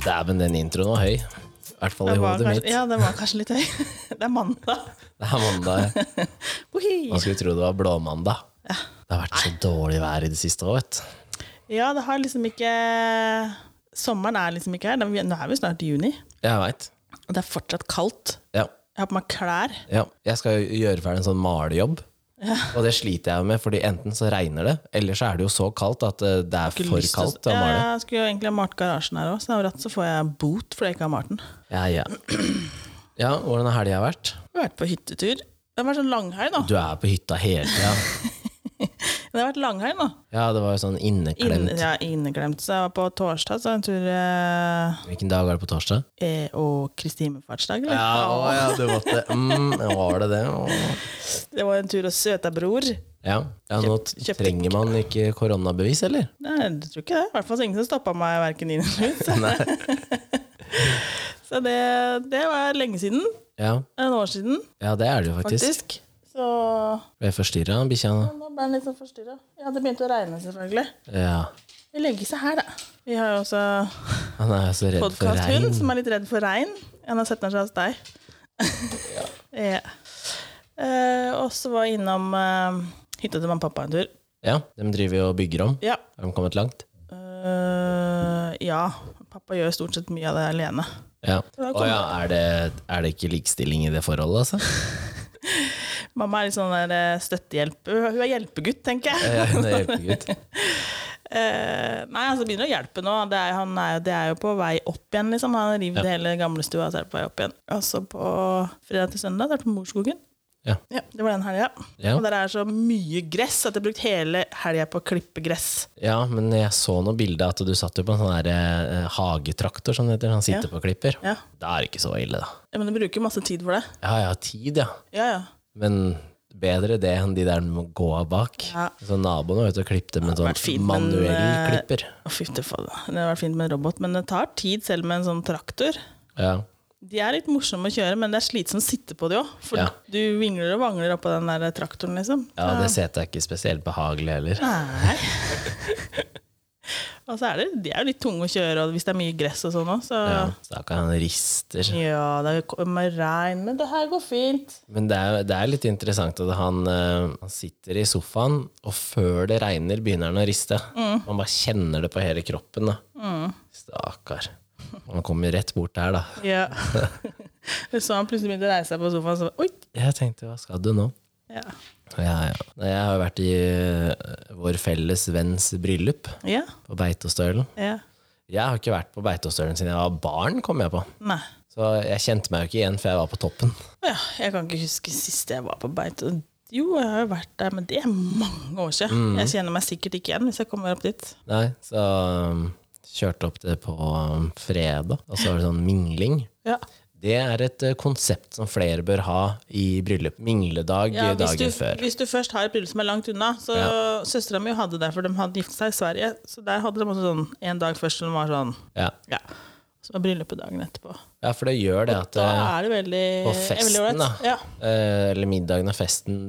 Dæven, den introen var høy. I hvert fall i Den var hodet kanskje, mitt. ja, den var kanskje litt høy. Det er mandag. Det er mandag. Wohi! Man skulle tro det var blåmandag. Det har vært så dårlig vær i det siste òg, vet du. Ja, det har liksom ikke Sommeren er liksom ikke her. Det er- Nå er vi snart i juni, Jeg veit. og det er fortsatt kaldt. Ja, Jeg har på meg klær. ja. Jeg skal jo gjøre ferdig en sånn malejobb. Og det sliter jeg med, fordi enten så regner det, eller så er det jo så kaldt at eh, det er for Lyst til å- kaldt å male. Ja, Jeg skulle jo egentlig ha malt garasjen her òg, så av og til så får jeg bot fordi jeg ikke har malt den. Ja, ja. ja hvordan har helga vært? Jeg har vært på hyttetur. Det har vært sånn langhelg nå. Du er på hytta hele tida. Det har vært langhelg nå. Ja, det var jo sånn Inn, inneklemt. ja, inneglemt. Så jeg var på torsdag, så en tur eh, Hvilken dag er det på torsdag? eh, Og Kristi himmelfartsdag, eller? Ja, å, ja du måtte mm, Var det det? Å. Det var en tur hos søtabror. Ja, ja nå t- kjøpte trenger man ikke koronabevis, eller? Nei, jeg tror ikke det. I hvert fall så ingen som stoppa meg verken inn eller ut. Nei. Så det, det var lenge siden. Ja, En år siden, ja det er det jo faktisk. faktisk. Så Ble forstyrra, bikkja. nå. nå ble han litt sånn forstyrra. Ja, det begynte å regne, selvfølgelig. Ja. Vi legger seg her, da. Vi har jo også Han er jo så redd for podkasthund regn. som er litt redd for regn. Han har sett den seg hos deg. ja. Eh, og så var jeg innom eh, hytta til mamma og pappa en tur. Ja, de driver jo og bygger om. Ja. Har de kommet langt? Eh, ja. Pappa gjør stort sett mye av det alene. Ja. de har Å ja, er det, er det ikke likestilling i det forholdet, altså? Mamma er litt sånn der eh, støttehjelp. Hun hun er hjelpegutt, tenker jeg. Ja, hun er hjelpegutt. Eh, nei, altså begynner å hjelpe nå. Det er, han er, jo- det er jo på vei opp igjen, liksom. Han har revet hele gamlestua, så er det på vei opp igjen. Og så på fredag til søndag, det er på Morskogen. Ja. det var den helga. Ja. Og der er så mye gress at jeg har brukt hele helga på å klippe gress. ja, men jeg så noe bilde at du satt jo på en sånn der, eh, hagetraktor, som det heter. Han sitter på og klipper. Ja. Da er det ikke så ille, da. Ja, Men du bruker masse tid for det. Ja, jeg har tid, ja. Ja, ja. Men bedre det enn de der må gå av bak. Ja. Så naboen var ute og klippte med en vært sånn fint, men, manuell eh, klipper. Å, fy til faen. Det hadde vært fint med en robot, men det tar tid selv med en sånn traktor. Ja. De er litt morsomme å kjøre, men det er slitsomt å sitte på de òg. For Ja. du vingler og vangler oppå den der traktoren, liksom. ja, det setet er ikke spesielt behagelig heller. Nei. og så er det, de er jo litt tunge å kjøre, og hvis det er mye gress og sånn òg, så Ja, ja. Stakkar, han rister. det kommer regn, men det her går fint. Men det er, det er litt interessant at han, eh, han sitter i sofaen, og før det regner, begynner han å riste. Man bare kjenner det på hele kroppen. da. Stakkar. Han kommer rett bort der, da. Ja. så han plutselig begynte å reise seg på sofaen, så oi! Jeg tenkte, hva skal du nå? Ja. Ja, ja. Nei, Jeg har jo vært i eh, vår felles venns bryllup ja. på Beitostølen. ja. Jeg har ikke vært på Beitostølen siden jeg var barn, kom jeg på. Nei. Så jeg kjente meg jo ikke igjen før jeg var på toppen. Å Ja, jeg kan ikke huske sist jeg var på beite. Jo, jeg har jo vært der, men det er mange år Mm. siden. Jeg kjenner meg sikkert ikke igjen hvis jeg kommer opp dit. Nei, så um, kjørte opp det på um, fredag, og så var det sånn mingling. Ja, Det er et uh, konsept som flere bør ha i bryllup. Mingledag ja eh, hvis, du, dagen før. hvis du først har et bryllup som er langt unna Så Søstera mi hadde det, for de hadde giftet seg i Sverige. Så der hadde de også sånn en dag først som var sånn Ja. Ja. Så var bryllupet dagen etterpå. ja, for det gjør det at Da uh, er det veldig på festen, veldig ålreit. da. Ja. eh, Eller middagen og festen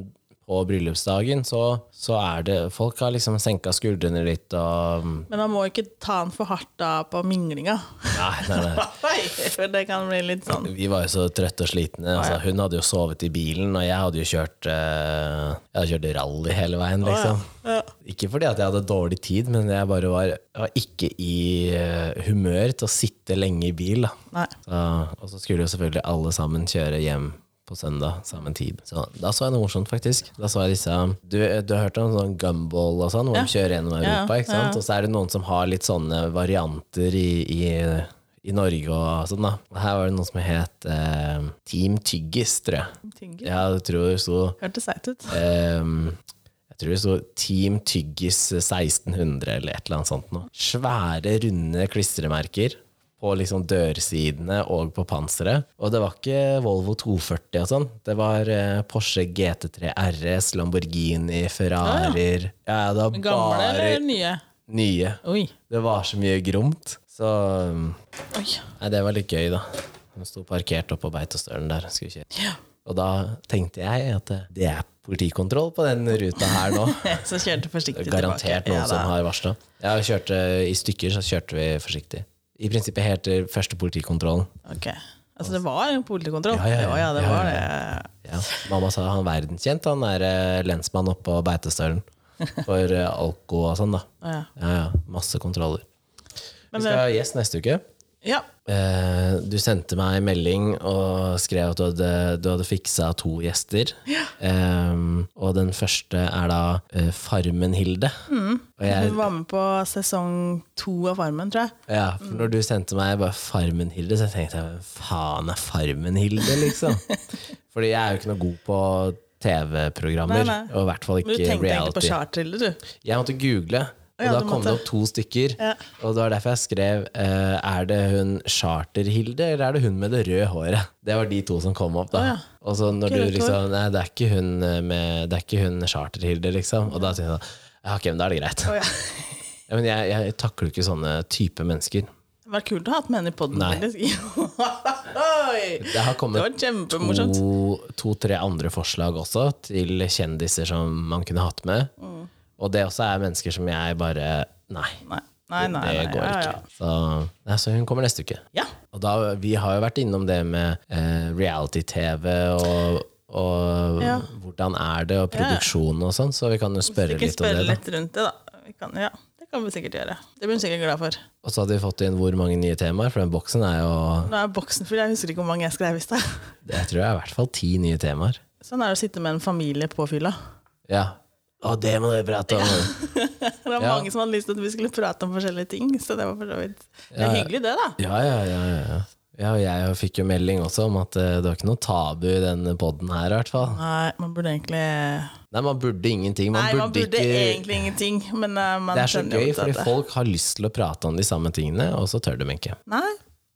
på bryllupsdagen, så, så er det Folk har liksom senka skuldrene litt og um, Men man må ikke ta den for hardt da på minglinga. Nei, nei, nei. For det kan bli litt sånn Vi var jo så trøtte og slitne. Altså, hun hadde jo sovet i bilen, og jeg hadde jo kjørt eh, Jeg hadde kjørt rally hele veien, liksom. ja. Ikke fordi at jeg hadde dårlig tid, men jeg bare var, jeg var ikke i eh, humør til å sitte lenge i bil. Da. Nei. Så, og så skulle jo selvfølgelig alle sammen kjøre hjem på søndag samme tid. Så da så jeg noe morsomt, faktisk. Da så jeg disse Du, du har hørt om sånn gumball og sånn, hvor de kjører gjennom Europa, ikke sant? Og så er det noen som har litt sånne varianter i, i i Norge og sånn, da. Og Her var det noe som het eh, Team Tyggis, tror jeg. Tyngre. Jeg tror det sto Hørtes seigt ut. Ehm, jeg tror det sto Team Tyggis 1600 eller et eller annet sånt noe. Svære, runde klistremerker på liksom dørsidene og på panseret. Og det var ikke Volvo 240 og sånn. Det var eh, Porsche GT3 RS, Lamborghini, Ferrarier Ja, ja, det var Ah, Gamle bare eller nye? nye. Oi. Det var så mye gromt. Så um, Oi. Nei, det var litt gøy, da. De sto parkert oppe på Beitostølen der. Skulle kjøre. Ja. Og da tenkte jeg at eh, det er politikontroll på den ruta her nå. Så kjørte forsiktig tilbake. Garantert noen Ja, da. som har varsla. Jeg kjørte i stykker, så kjørte vi forsiktig. I prinsippet helt til første politikontrollen. Ok. Altså det var en politikontroll? Ja, ja, ja. det Ja, var ja, det. Ja. Mamma sa han er verdenskjent, han er eh, lensmann oppe på Beitestølen. For eh, alko og sånn, da. Å, ja. Ja, ja. Masse kontroller. Men Vi skal ha gjest neste uke. Ja. Eh, du sendte meg en melding og skrev at du hadde, du hadde fiksa to gjester. Eh, og den første er da eh, Farmen-Hilde. Mm. Og jeg, Hun var med på sesong to av Farmen, tror jeg. ja, for når du sendte meg bare Farmen-Hilde, så tenkte jeg hvem faen er Farmen-Hilde, liksom? Fordi jeg er jo ikke noe god på Nei, TV-programmer, nei. og i hvert fall Men du ikke tenkte egentlig på reality. Charter, du. Jeg måtte google, og Ja, da du kom det måtte. opp to stykker. Ja. Og det var derfor jeg skrev eh, Er det hun Charter-Hilde, eller er det hun med det røde håret? Det var de to som kom opp, da. Å, ja. Og så når Ikke du rødt liksom Nei, det er ikke hun, eh, med- det er ikke hun Charter-Hilde, liksom. Og da tenkte jeg ja, ok, men da er det greit. Å, ja. Ja, men jeg, jeg takler ikke sånne type mennesker. Det var kult å ha hatt med henne i poden, Nei. faktisk. Oi! Det har Det kommet var kjempemorsomt. to-tre andre forslag også, til kjendiser som man kunne hatt med. Mm. Og det også er mennesker som jeg bare Nei. Nei, nei, nei. nei, det går ja, ikke. Så, nei, så hun kommer neste uke. Ja. ja. Og da, vi har jo vært innom det med eh, reality-TV og, og Ja. hvordan er det, og produksjon og sånn, så vi kan jo spørre Sikkert litt om spørre det. da. litt rundt det, da. Vi kan, ja, det kan vi sikkert gjøre. Det blir hun sikkert glad for. Og så hadde vi fått inn hvor mange nye temaer, for den boksen er jo Nå er boksen full, jeg husker ikke hvor mange jeg skrev i stad. Jeg tror det er i hvert fall ti nye temaer. Sånn er det å sitte med en familie på fylla. Ja. Å, det må dere prate om! Det var Ja. mange som hadde lyst til at vi skulle prate om forskjellige ting, så det var for så vidt Det Ja, er ja. hyggelig, det, da. Ja, ja, ja. ja, ja. ja og jeg fikk jo melding også om at eh, det var ikke noe tabu i den poden her, i hvert fall. Nei, man burde egentlig Nei, man burde ingenting. Man Nei, man burde ikke egentlig ingenting, men eh, man Det er så skjønner jo gøy, at fordi det- folk har lyst til å prate om de samme tingene, og så tør de ikke. Nei,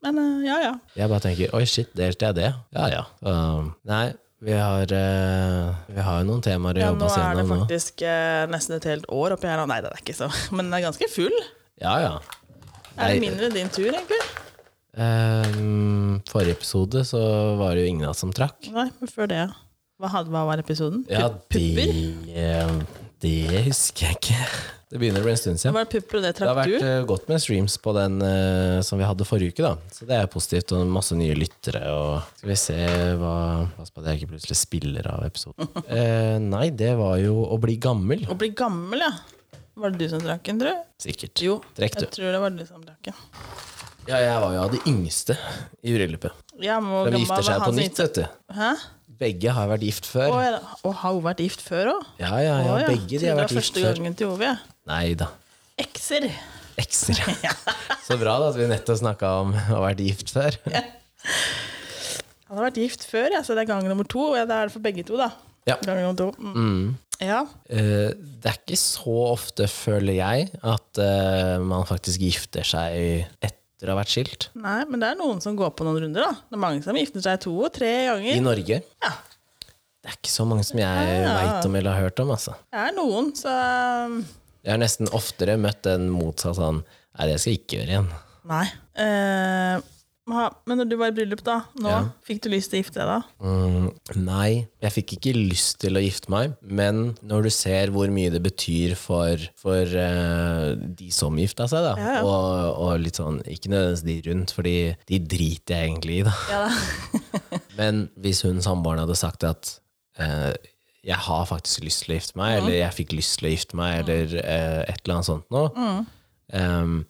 men eh, ja, ja. Jeg bare tenker 'oi, shit, delte jeg det?' Ja ja. Um, nei, vi har, eh, vi har jo noen temaer å ja. jobbe Nå oss er det gjennom nå. faktisk eh, nesten et helt år oppi her nå. Nei, det er ikke så, men den er ganske full. Ja ja. Er det Nei, mindre din tur, egentlig? um, forrige episode så var det jo ingen av oss som trakk. Nei, men før det. Hva, hadde, hva var episoden? Ja, Pup- de, pupper? eh, det husker jeg ikke. Det begynner å bli en stund siden. Var det pupper, og det Det har trakk vært du? eh, godt med streams på den eh, som vi hadde forrige uke, da. Så det er positivt, og masse nye lyttere. Og skal vi se hva Pass på at jeg ikke plutselig spiller av episoden. Eh, nei, det var jo å bli gammel. Å bli gammel, ja. Var det du som trakk den, tror du? Sikkert. Jo, Trekk, jeg du. tror det var du som trakk den. Ja, jeg var jo av de yngste i bryllupet. Ja, men hvor De gammel gifter var seg han på som nytt, gifta vet du. Hæ? Begge har vært gift Å, før. er det- å, har hun vært gift før òg? Ja, ja, ja. Begge de har vært gift Det var første før. gangen til Ove. ja. Nei da. Ekser. Ekser. Så bra da at vi nettopp snakka om å ha vært gift før. Han har vært gift før, ja, så det er gang nummer to. Og ja, det er det for begge to, da. Ja. Gang nummer to. Mm. Ja. Eh, det er ikke så ofte, føler jeg, at eh, man faktisk gifter seg etter å ha vært skilt. Nei, men det er noen som går på noen runder, da. Det er mange som gifter seg to og tre I ganger. Norge. Ja. Ah. Det er ikke så mange som jeg vet veit om eller har hørt om. Altså. Det er noen, så um, Jeg har nesten oftere møtt den motsatt sånn Nei, det skal jeg ikke gjøre igjen. Nei. Eh, ha, men når du var i bryllup, da, nå, fikk du lyst til å gifte deg da? Mm, nei, jeg fikk ikke lyst til å gifte meg, men når du ser hvor mye det betyr for, for eh, de som gifta seg, da, Ja, ja. Og, og litt sånn, ikke nødvendigvis de rundt, fordi de driter jeg egentlig i, da. Ja da. Men hvis hun samboeren hadde sagt at eh, jeg har faktisk lyst til å gifte meg, eller jeg fikk lyst til å gifte meg, eller eh, et eller annet sånt noe, Mm. ehm,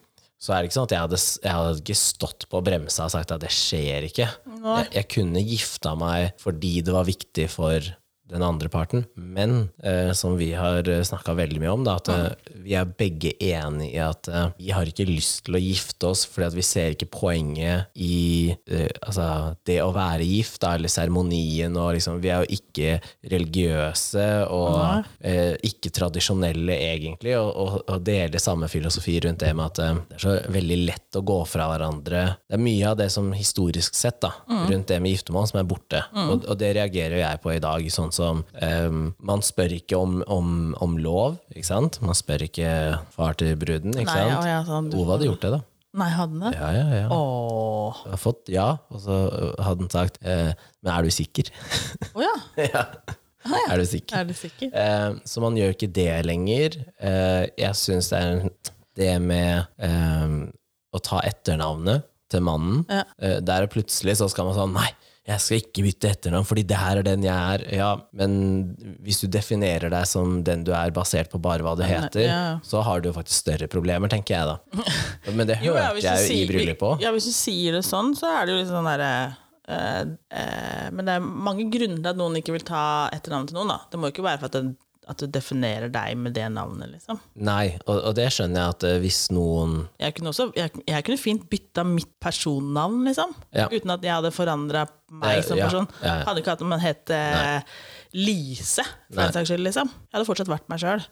så er det ikke sånn at jeg hadde, s- jeg hadde ikke stått på bremsa og sagt at det skjer ikke. Jeg, jeg kunne gifta meg fordi det var viktig for den andre parten, men eh, som vi har snakka veldig mye om, da, at eh, vi er begge enige i at eh, vi har ikke lyst til å gifte oss fordi at vi ser ikke poenget i eh, altså, det å være gift, da, eller seremonien og liksom Vi er jo ikke religiøse og eh, ikke tradisjonelle, egentlig, og, og, og deler samme filosofi rundt det med at eh, det er så veldig lett å gå fra hverandre. Det er mye av det som historisk sett, da, Mm. rundt det med giftermål, som er borte. Og, og det reagerer jo jeg på i dag, sånn som eh, Man spør ikke om, om, om lov, ikke sant? Man spør ikke far til bruden, ikke Nei, sant? ja, ja, sånn, du- Ove hadde gjort det, da. Nei, hadde den det? Ja, ja, ja. Åh. Jeg har fått ja, og så hadde han sagt eh, Men er du sikker? Å ja, ja. Er du sikker? er du sikker? Eh, så man gjør ikke det lenger. Eh, jeg syns det er en- det med eh, å ta etternavnet til mannen. Ja. Eh, Der og plutselig så skal man sånn Nei, jeg skal ikke bytte etternavn, fordi det her er den jeg er. Ja, Men hvis du definerer deg som den du er, basert på bare hva du heter, ja. så har du jo faktisk større problemer, tenker jeg da. Men det hørte ja, hvis du jeg jo i sier- bryllupet òg. Ja, hvis du sier det sånn, så er det jo litt sånn derre eh, eh, Men det er mange grunner til at noen ikke vil ta etternavnet til noen, da. Det må jo ikke være for at, det, at du definerer deg med det navnet, liksom. Nei, og, og det skjønner jeg at eh, hvis noen Jeg kunne, også, jeg, jeg kunne fint bytta mitt personnavn, liksom. Ja. Uten at jeg hadde forandra meg Eh, som ja, person. ja, ja. Hadde ikke hatt om man het eh, Lise, for Nei. den saks skyld, liksom. Jeg hadde fortsatt vært meg sjøl.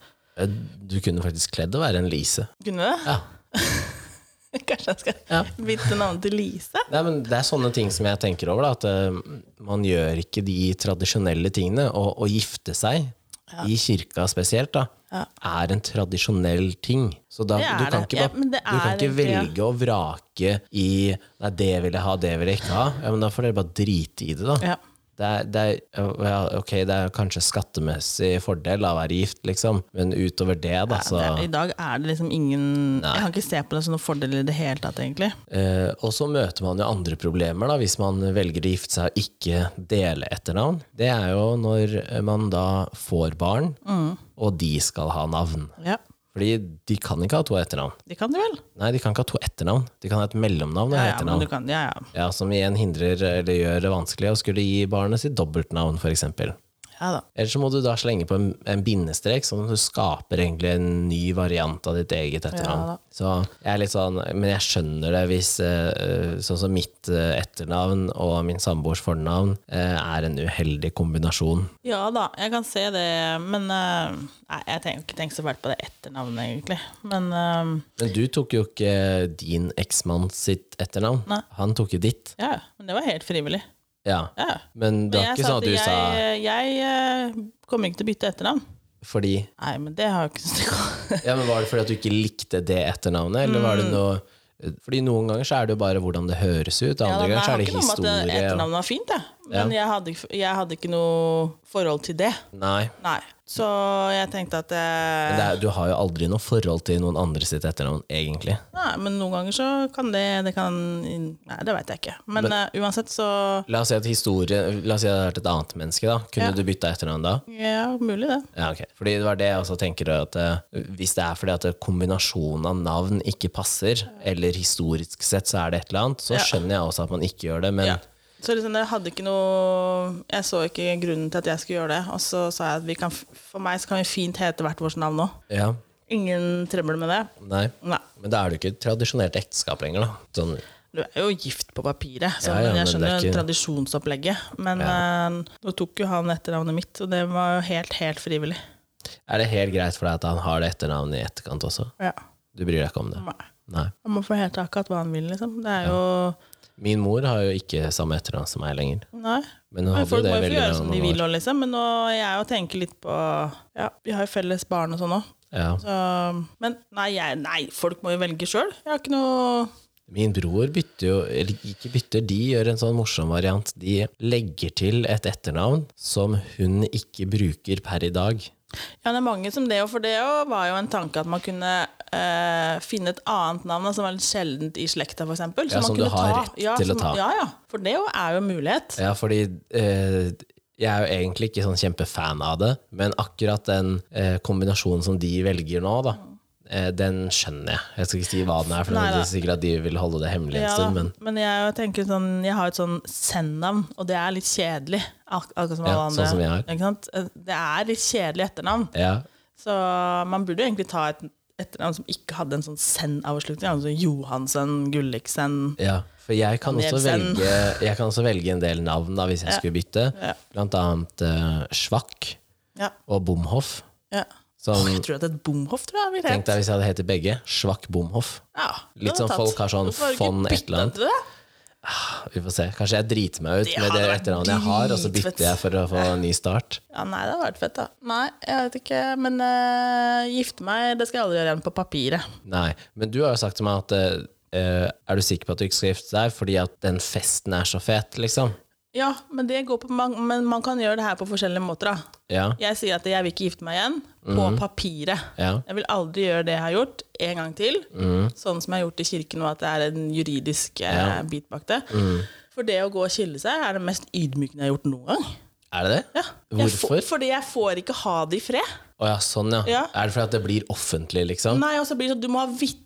eh, Du kunne faktisk kledd å være en Lise. Kunne du det? Ja. Kanskje jeg skal Ja. bytte navnet til Lise? Nei, men Det er sånne ting som jeg tenker over. Da, at eh, man gjør ikke de tradisjonelle tingene. Og å gifte seg, i kirka spesielt, da, er en tradisjonell ting. Så da, Det er du kan det. ikke, Ja, bare, men det du kan er ikke egentlig, ja. velge og vrake i Nei, det vil jeg ha, det vil jeg ikke ha. Ja, men Da får dere bare drite i det, da. Ja. Det er, det, er, ja, ok, det er kanskje skattemessig fordel av å være gift, liksom, men utover det, da, så Det er, I dag er det liksom ingen Jeg kan ikke se på det som noen fordel i det hele tatt, egentlig. Eh, og så møter man jo andre problemer da, hvis man velger å gifte seg og ikke dele etternavn. Det er jo når man da får barn, Mm. og de skal ha navn. Ja, Fordi de kan ikke ha to etternavn. De kan det vel? Nei, de kan ikke ha to etternavn. De kan ha et mellomnavn og Ja, et ja, men etternavn. du kan, ja, ja. Ja, som igjen hindrer eller gjør det vanskelig å skulle gi barnet sitt dobbeltnavn, f.eks. ja da. Eller så må du da slenge på en, en bindestrek, sånn at du skaper egentlig en ny variant av ditt eget etternavn. Ja da. så jeg er litt sånn, men jeg skjønner det hvis eh, sånn som mitt eh, etternavn og min samboers fornavn eh, er en uheldig kombinasjon. Ja da, jeg kan se det, men eh, Nei, jeg tenker ikke tenk så fælt på det etternavnet, egentlig. Men eh, Men du tok jo ikke din eksmann sitt etternavn. Nei. Han tok jo ditt. ja, men det var helt frivillig. Ja. Ja. Men det Men var jeg ikke sånn at du jeg, sa Jeg eh, kommer ikke til å bytte etternavn. fordi Nei, men det har jeg ikke Ja, men Var det fordi at du ikke likte det etternavnet, eller Mm. var det noe Fordi noen ganger så er det jo bare hvordan det høres ut, og Ja, andre da, men ganger jeg så har er det ikke noe med at historie. det og- etternavnet var fint, jeg. Men jeg, hadde, ikke- jeg hadde ikke noe forhold til det. Nei. Nei. Så jeg tenkte at Men eh, det er, du har jo aldri noe forhold til noen andre sitt etternavn, egentlig. Nei, men noen ganger så kan det, det kan, Nei, det veit jeg ikke. Men, eh, uansett så La oss si at historie, la oss si at det hadde vært et annet menneske, da. Kunne Ja. du bytta etternavn da? Ja, mulig det. Ja, ok. Fordi det var det jeg også tenker, at eh, hvis det er fordi at kombinasjonen av navn ikke passer, eller historisk sett så er det et eller annet, så Ja. skjønner jeg også at man ikke gjør det, men Ja. Så liksom, jeg hadde ikke noe Jeg så ikke grunnen til at jeg skulle gjøre det. Og så sa jeg at vi kan, f- for meg så kan vi fint hete hvert vårt navn nå. ja. Ingen trøbbel med det. Nei. Nei. Men da er det jo ikke et tradisjonelt ekteskap lenger, da. Sånn, Du er jo gift på papiret, så Ja, ja, men jeg det er skjønner ikke- tradisjonsopplegget. Men eh, nå tok jo han etternavnet mitt, og det var jo helt, helt frivillig. er det helt greit for deg at han har det etternavnet i etterkant også? Ja. Du bryr deg ikke om det? Nei. Nei. Han må få hete akkurat hva han vil, liksom. Det er jo Min mor har jo ikke samme etternavn som meg lenger. Nei. Men hun Men hadde jo folk det må jo få veldig gjøre bra som de noen vil år. òg, liksom. Men nå, jeg er jo tenker litt på Ja, vi har jo felles barn og sånn òg. Ja. Så, men nei, jeg, nei, folk må jo velge sjøl. Jeg har ikke noe Min bror bytter jo, eller ikke bytter, de gjør en sånn morsom variant. De legger til et etternavn som hun ikke bruker per i dag. Ja, det er mange som det, og for det jo var jo en tanke at man kunne eh, finne et annet navn da, som var litt sjeldent i slekta, f.eks. Ja, som du har rett til å ta. Ja, ja. For det jo er jo en mulighet. Ja, fordi eh, jeg er jo egentlig ikke sånn kjempefan av det, men akkurat den eh, kombinasjonen som de velger nå, da, eh, den skjønner jeg. Jeg skal ikke si hva den er, for Nei, det da. er sikkert at de vil holde det hemmelig en Ja, da. stund, men men jeg tenker sånn Jeg har et sånn send-navn, og det er litt kjedelig. Ak akkurat som Ja, sånn alle andre. som jeg har. Ikke sant? Eh, Det er litt kjedelig etternavn. ja. Så man burde jo egentlig ta et etternavn som ikke hadde en sånn send-avslutning. Altså Johansen, Gulliksen Ja, for jeg kan, også Danielsen. velge, jeg kan også velge en del navn da, hvis jeg skulle bytte. Ja. Blant annet eh, Schwach Ja. og Bomhoff. ja. Som, Jeg tror at et bomhoff tror jeg ville Tenk hett. deg hvis jeg hadde hett begge. Schwach Bomhoff. Ja, det Litt hadde sånn tatt. folk har sånn Hvorfor har du ikke fond et eller annet. byttet det? Vi får se. Kanskje jeg driter meg ut Det med det hadde vært etternavnet jeg har, og så dritfett. bytter jeg for å få en ny start. Ja, nei, det hadde vært fett, da. Nei, jeg vet ikke. Men eh, gifte meg, det skal jeg aldri gjøre igjen på papiret. Nei. Men du har jo sagt til meg at eh, eh, er du sikker på at du ikke skal gifte deg fordi at den festen er så fet, liksom? Ja, men, det går på, man, men man kan gjøre det her på forskjellige måter. da. Ja. Jeg sier at jeg vil ikke gifte meg igjen, på papiret. Mhm. Ja. Mhm. Jeg vil aldri gjøre det jeg har gjort, en gang til. Sånn som jeg har gjort i kirken, og at det er en juridisk eh, bit bak det. Mhm. For det å gå og skille seg er det mest ydmykende jeg har gjort noen gang. Er det det? Ja. Jeg Hvorfor? Får, fordi jeg får ikke ha det i fred. Å ja, sånn ja. Ja. Er det fordi at det blir offentlig, liksom? Nei, og så blir det sånn, Du må ha vitner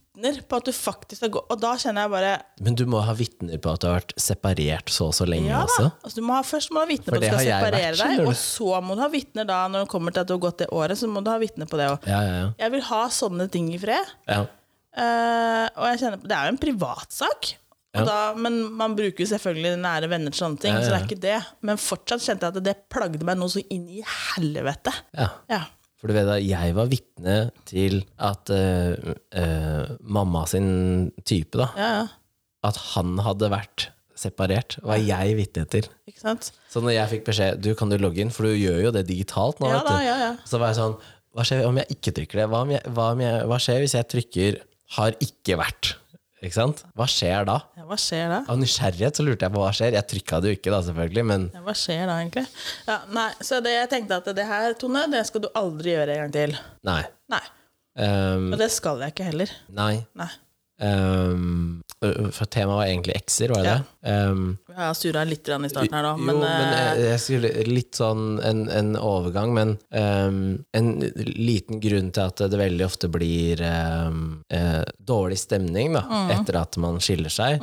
på at du faktisk har gått Og da kjenner jeg bare Men du må ha vitner på at du har vært separert så og så lenge Ja da. også? Altså, du må ha, først må du ha vitne på at du det skal har jeg separere vært, skjønner deg, du. og så må du ha vitne da når det kommer til at du har gått det året. Så må du ha vitne på det også. Ja, ja, ja. Jeg vil ha sånne ting i fred. ja. eh, og jeg kjenner på Det er jo en privatsak. Og Ja. da, men man bruker jo selvfølgelig nære venner til sånne ting, Ja, ja, så ja. det er ikke det. Men fortsatt kjente jeg at det plagde meg noe så inn i helvete. ja. Ja. For du vet at jeg var vitne til at eh, eh, mamma sin type, da, ja, ja. at han hadde vært separert, var jeg vitne til. Ikke sant? Så når jeg fikk beskjed du kan du logge inn, for du gjør jo det digitalt nå, Ja vet da, du. ja, ja. så var jeg sånn Hva skjer om jeg ikke trykker det? Hva, om jeg, hva, om jeg, hva skjer hvis jeg trykker 'har ikke vært'? Ikke sant? Hva skjer da? ja. Hva skjer da? Av nysgjerrighet så lurte jeg på hva skjer. Jeg trykka det jo ikke, da, selvfølgelig, men Ja, hva skjer da, egentlig? Ja, nei, så det, jeg tenkte at det her, Tone, det skal du aldri gjøre en gang til. nei. Nei. Ehm, Og det skal jeg ikke heller. nei. Nei. Ehm, ø- for temaet var egentlig ekser, var det Ja. det? Ehm, Jeg har surra litt grann i starten her, da, jo, men, men eh, jeg, jeg skulle Litt sånn en, en overgang, men ehm, en liten grunn til at det veldig ofte blir ehm, eh, dårlig stemning da, Mm. etter at man skiller seg,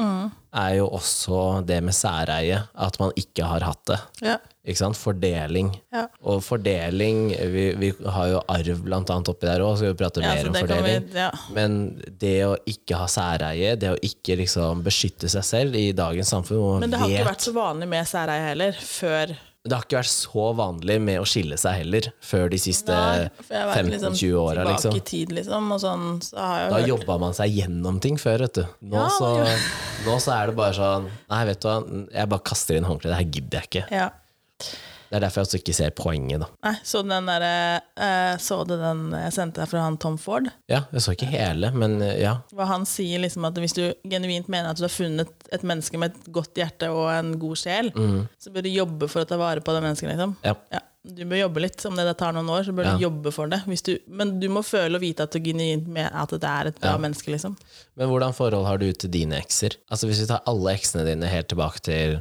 er jo også det med særeie. At man ikke har hatt det. ja, Ikke sant? Fordeling. Ja. Og fordeling Vi, vi har jo arv blant annet oppi der òg, skal vi prate ja, mer så om det kan vi fordeling. ja. Men det å ikke ha særeie, det å ikke liksom beskytte seg selv i dagens samfunn hvor man Men det har vet- ikke vært så vanlig med særeie heller, før det har ikke vært så vanlig med å skille seg heller, før de siste Nei, for jeg har vært 15-20 liksom åra. tilbake Liksom. i tid, liksom, og sånn, så har jeg Da jo hørt jobba man seg gjennom ting før, vet du. Nå, Ja, så, man nå så er det bare sånn Nei, vet du hva, jeg bare kaster inn håndkleet. Det her gidder jeg ikke. ja. Det er derfor jeg også ikke ser poenget, da. Nei, så den derre eh, Så du den jeg sendte deg fra han Tom Ford? Ja, jeg så ikke hele, men ja. Hva han sier liksom at Hvis du genuint mener at du har funnet et menneske med et godt hjerte og en god sjel, så bør du jobbe for å ta vare på det mennesket. Liksom. Mm. ja. Ja, du bør jobbe litt. Om det der tar noen år, så bør Ja. du jobbe for det. Hvis du, men du må føle og vite at du genuint mener at det er et bra menneske. Liksom. Men hvordan forhold har du til dine ekser? Altså Hvis vi tar alle eksene dine helt tilbake til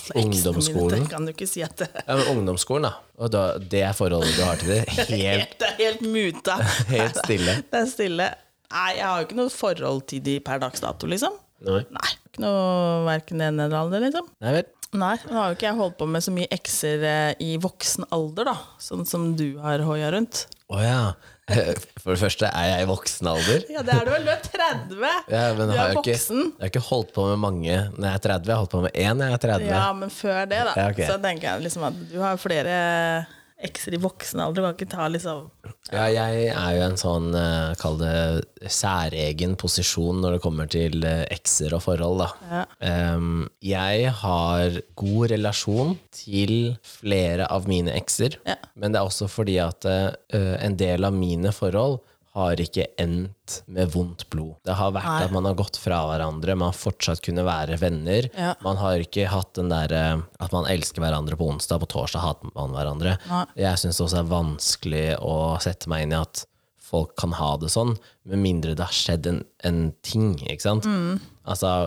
Eksene mine, ungdomsskolen det Kan du ikke si at det, ja, men ungdomsskolen, da. Og da, det er forholdet du har til det. Helt, det er helt muta. helt stille. Det er stille. Nei, jeg har jo ikke noe forhold til de per dags dato, liksom. Nei. Nei, ikke noe Verken det ene eller andre, liksom. Nei vel. Nei, nå har jo ikke jeg holdt på med så mye ekser eh, i voksen alder, da. Sånn som du har hoia rundt. Å ja. For det første, er jeg i voksen alder? Ja, det er du vel. Du er 30! Ja, men har du er jeg, ikke, voksen. jeg har ikke holdt på med mange når jeg er 30. Jeg har holdt på med én når jeg er 30. Ja, men før det, da. Ja, ok. Så tenker jeg liksom at du har flere ekser i voksen alder. Du kan ikke ta liksom Ja, jeg er jo en sånn, eh, kall det særegen posisjon når det kommer til eh, ekser og forhold, da. ja. Em, jeg har god relasjon til flere av mine ekser, Ja. men det er også fordi at eh, en del av mine forhold har ikke endt med vondt blod. Det har vært Nei. at man har gått fra hverandre, man har fortsatt kunne være venner. Ja. Man har ikke hatt den derre at man elsker hverandre på onsdag, på torsdag hater man hverandre. Nei. Jeg syns det også er vanskelig å sette meg inn i at folk kan ha det sånn, med mindre det har skjedd en, en ting, ikke sant? Mm. Altså,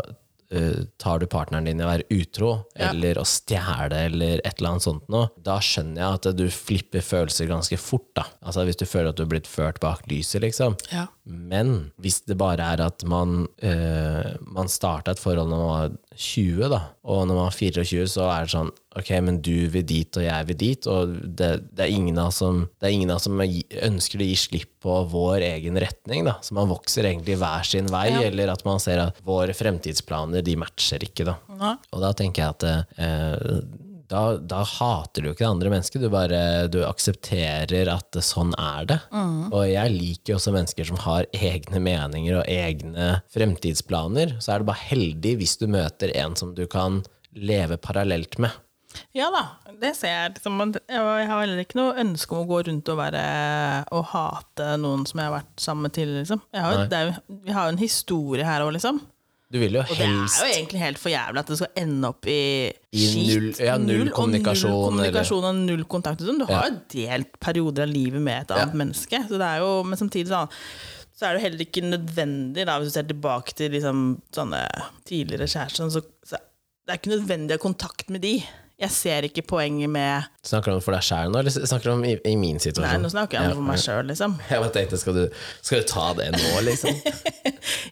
eh, tar du partneren din i å være utro, Ja. eller å stjele, eller et eller annet sånt noe, da skjønner jeg at du flipper følelser ganske fort, da. Altså, hvis du føler at du har blitt ført bak lyset, liksom. Ja. Men hvis det bare er at man, eh, man starta et forhold når man var 20, da, og når man var 24, så er det sånn Ok, men du vil dit, og jeg vil dit, og det, det er ingen av oss som, det er ingen av oss som gi- ønsker å gi slipp på vår egen retning. da, Så man vokser egentlig hver sin vei, eller at man ser at våre fremtidsplaner de matcher ikke. da. Nei. Og da tenker jeg at eh, da, da hater du ikke det andre mennesket, du bare du aksepterer at sånn er det. Mm. Og jeg liker jo også mennesker som har egne meninger og egne fremtidsplaner. Så er det bare heldig hvis du møter en som du kan leve parallelt med. ja da, det ser jeg. Liksom, men jeg har heller ikke noe ønske om å gå rundt og være og hate noen som jeg har vært sammen med tidligere, liksom. Jeg har, jo- det er, jo- vi har jo en historie her òg, liksom. Du vil jo Og det er helst jo egentlig helt for jævlig at det skal ende opp i, I skit. null- ja, null og kommunikasjon, Null eller- kommunikasjon og null kontakt. liksom. Du har jo delt perioder av livet med et annet menneske, så det er jo, men samtidig så, så er det jo heller ikke nødvendig, da, hvis du ser tilbake til liksom, sånne tidligere kjærester, så, så det er ikke nødvendig å ha kontakt med de. Jeg ser ikke poenget med Snakker du om for deg sjæl nå, eller snakker du om i, i min Nei, situasjon? nå snakker jeg Sånn. Ja, om for meg sjøl, liksom. Jeg bare tenkte, skal du, skal du ta det nå, liksom?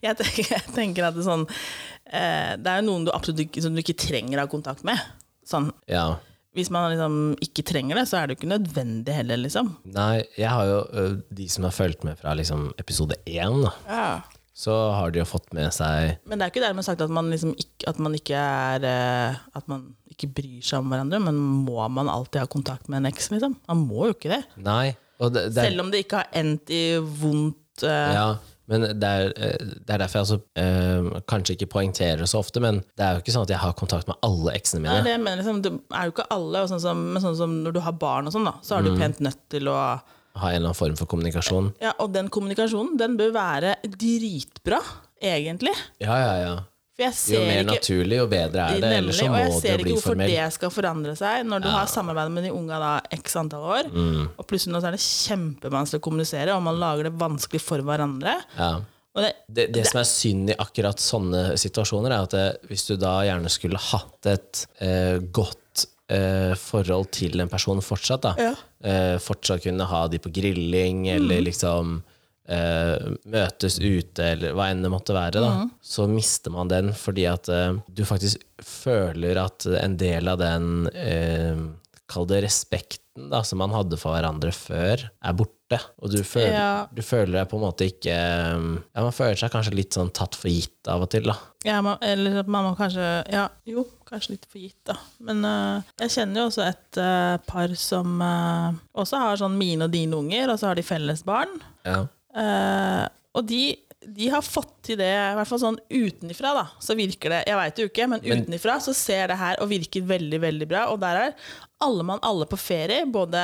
Jeg tenker, jeg tenker at det er sånn eh, Det er jo noen du absolutt ikke, som du ikke trenger å ha kontakt med. Sånn Ja. hvis man liksom ikke trenger det, så er det jo ikke nødvendig heller, liksom. Nei, jeg har jo ø, de som har fulgt med fra liksom episode én, da. Så har de jo fått med seg Men det er ikke dermed sagt at man, liksom ikke, at man ikke er eh, At man ikke bryr seg om hverandre, men må man alltid ha kontakt med en eks, liksom? Man må jo ikke det. Nei. Og det, det er, Selv om det ikke har endt i vondt eh, ja, men det er, ø, det er derfor jeg altså, ø, kanskje ikke poengterer så ofte, men det er jo ikke sånn at jeg har kontakt med alle eksene det er mine. det jeg mener, liksom, det er jo ikke alle, og sånn som, men sånn som når du har barn og sånn, da, så er Mm. du pent nødt til å Har en eller annen form for kommunikasjon. ja, Og den kommunikasjonen, den bør være dritbra, egentlig. Ja, ja, ja. For jeg Jo ser mer ikke naturlig, jo bedre er det. Nemlig, Ellers så og må jeg det ser jo ikke bli hvorfor formelt. det skal forandre seg når du har samarbeidet med de unga da x antall år, Mm. og plutselig nå så er det kjempevanskelig å kommunisere, og man lager det vanskelig for hverandre. Ja. Og det, det, det som er synd i akkurat sånne situasjoner, er at eh, hvis du da gjerne skulle hatt et eh, godt eh, forhold til en person fortsatt, da, eh, fortsatt kunne ha de på grilling, eller liksom eh, møtes ute, eller hva enn det måtte være, da, så mister man den fordi at eh, du faktisk føler at en del av den eh, Kall det respekten da, som man hadde for hverandre før, er borte. Og du føler, Ja. du føler deg på en måte ikke um, Ja, man føler seg kanskje litt sånn tatt for gitt av og til, da. ja, man, eller at man må kanskje Ja, jo, kanskje litt for gitt, da. Men øh, jeg kjenner jo også et øh, par som øh, også har sånn mine og dine unger, og så har de felles barn. Ja. Eh, og de, de har fått til det, i hvert fall sånn utenifra, da. Så virker det, jeg veit jo ikke, men utenifra så ser det her og virker veldig, veldig bra. Og der er alle mann alle på ferie, både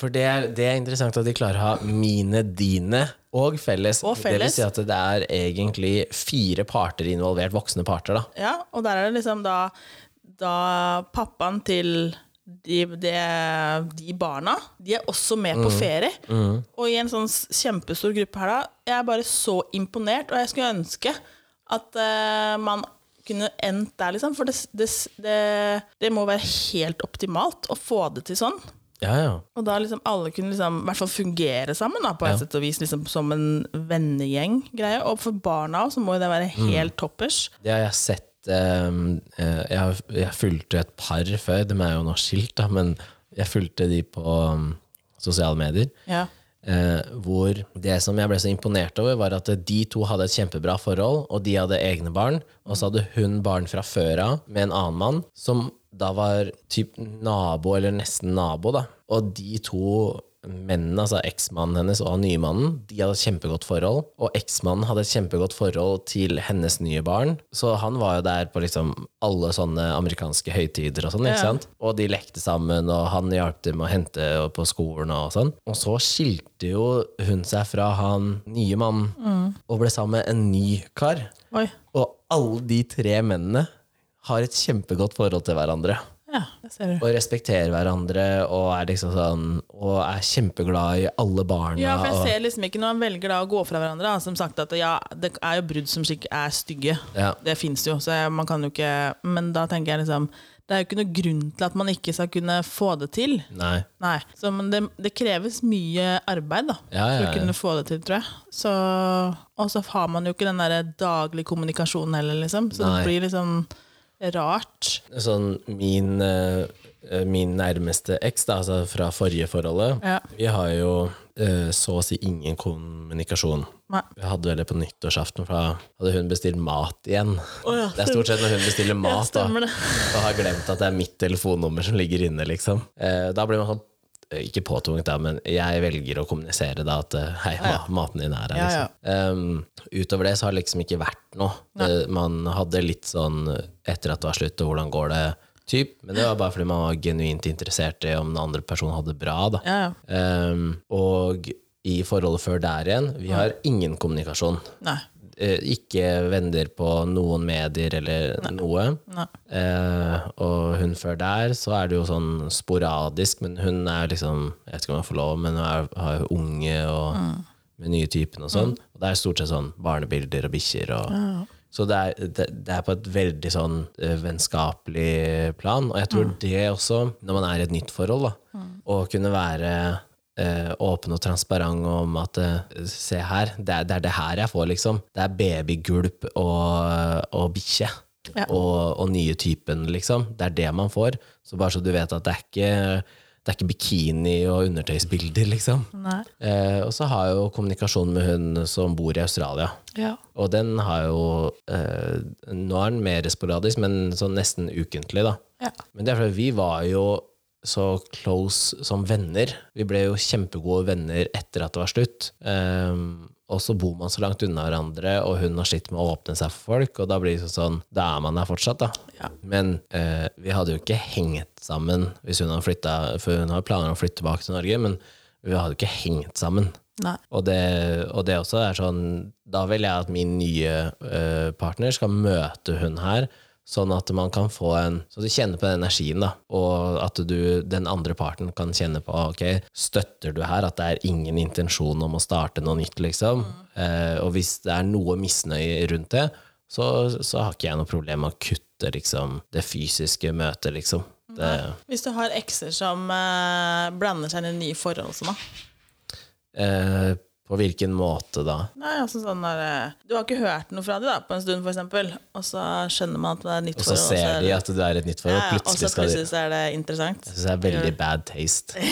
For det er, det er interessant at de klarer å ha mine, dine og felles. Og Det vil felles. si at det er egentlig fire parter involvert, voksne parter, da. Ja, og der er det liksom da, da pappaen til de, de, de barna, de er også med på ferie. Og i en sånn s- kjempestor gruppe her da, jeg er bare så imponert, og jeg skulle ønske at eh, man kunne endt der, liksom. For det, s- det, s- det, det må være helt optimalt å få det til sånn. Ja, ja. Og da liksom alle kunne liksom, i hvert fall fungere sammen, da, på et sett og vis, liksom, som en vennegjeng-greie. Og for barna også, så må jo det være helt toppers. Det har jeg sett ehm, eh, jeg, har- jeg fulgte et par før, de er jo nå skilt, da, men jeg fulgte de på um, sosiale medier. Ja. Eh, hvor det som jeg ble så imponert over, var at de to hadde et kjempebra forhold, og de hadde egne barn. Og så hadde hun barn fra før av med en annen mann, som da var typ nabo, eller nesten nabo, da. Og de to mennene, altså eksmannen hennes og han nye mannen, de hadde et kjempegodt forhold. Og eksmannen hadde et kjempegodt forhold til hennes nye barn. Så han var jo der på liksom alle sånne amerikanske høytider og sånn, ikke sant? Og de lekte sammen, og han hjalp dem å hente og på skolen og sånn. Og så skilte jo hun seg fra han nye mannen, Mm. og ble sammen med en ny kar. Oi. Og alle de tre mennene har et kjempegodt forhold til hverandre Ja, det ser du. og respekterer hverandre og er liksom sånn Og er kjempeglad i alle barna. Ja, for jeg og, ser liksom ikke når han velger da å gå fra hverandre. da, Som sagt at ja, det er jo brudd som skikk er stygge. Ja. Det fins jo, så jeg- man kan jo ikke Men da tenker jeg liksom Det er jo ikke noe grunn til at man ikke skal kunne få det til. Nei. Nei. Så, men det, det kreves mye arbeid da Ja, ja, for å ja. kunne få det til, tror jeg. Så, og så har man jo ikke den der daglige kommunikasjonen heller, liksom. Så Nei. det blir liksom rart. Sånn min, eh, eh, min nærmeste eks, da, altså fra forrige forholdet, Ja. vi har jo eh, så å si ingen kommunikasjon. Nei. Vi hadde vel det på nyttårsaften, for da hadde hun bestilt mat igjen. Å ja, Det er stort sett når hun bestiller mat, da. stemmer det. Og har glemt at det er mitt telefonnummer som ligger inne, liksom. Eh, da blir man sånn eh, ikke påtvunget, da, men jeg velger å kommunisere da at eh, hei, ma maten din er her. Ja, Liksom. ja. Ehm, utover det så har det liksom ikke vært noe. Det, man hadde litt sånn etter at det var slutt, og hvordan går det, typ. Men det var bare fordi man var genuint interessert i om den andre personen hadde det bra. Da. Ja, ja. Ehm, og i forholdet før der igjen, vi har ingen kommunikasjon. Nei. eh, ikke venner på noen medier eller noe. Nei. Eh, og hun før der, så er det jo sånn sporadisk, men hun er liksom Jeg vet ikke om jeg får lov, men hun er, har jo unge og med nye typen og sånn. Og det er stort sett sånn barnebilder og bikkjer og Så det er, det, det er på et veldig sånn eh, vennskapelig plan. Og jeg tror det også, når man er i et nytt forhold, da, å kunne være eh, åpen og transparent om at eh, se her, det er, det er det her jeg får, liksom. Det er babygulp og, og bikkje. Ja. Og, og nye typen, liksom. Det er det man får. Så bare så du vet at det er ikke, det er ikke bikini og undertøysbilder, liksom. Nei. Eh, og så har jeg jo kommunikasjon med hun som bor i Australia. Ja. Og den har jo eh, Nå er den mer sporadisk, men sånn nesten ukentlig, da. Ja. Men det er fordi vi var jo så close som venner. Vi ble jo kjempegode venner etter at det var slutt. Ehm, og så bor man så langt unna hverandre, og hun har slitt med å åpne seg for folk, og da blir det sånn Da er man der fortsatt, da. Ja. Men eh, vi hadde jo ikke hengt sammen hvis hun hadde flytta For hun har planer om å flytte tilbake til Norge, men vi hadde jo ikke hengt sammen. Nei. Og det, og det også er sånn Da vil jeg at min nye eh, partner skal møte hun her, sånn at man kan få en Så du kjenner på den energien, da. Og at du, den andre parten kan kjenne på ah, Ok, støtter du her at det er ingen intensjon om å starte noe nytt, liksom? Mm. Eh, og hvis det er noe misnøye rundt det, så, så har ikke jeg noe problem med å kutte liksom, det fysiske møtet, liksom. Mm. Det, Hvis du har ekser som eh, blander seg inn i nye forhold som da. eh, på hvilken måte da? Nei, altså sånn der, eh, Du har ikke hørt noe fra dem da, på en stund, for eksempel. Og så skjønner man at det er et nytt Og så forhold. ser er de det- at det er et nytt forhold, ja, ja, og så plutselig skal de plutselig så er det interessant. Jeg synes det er veldig bad taste.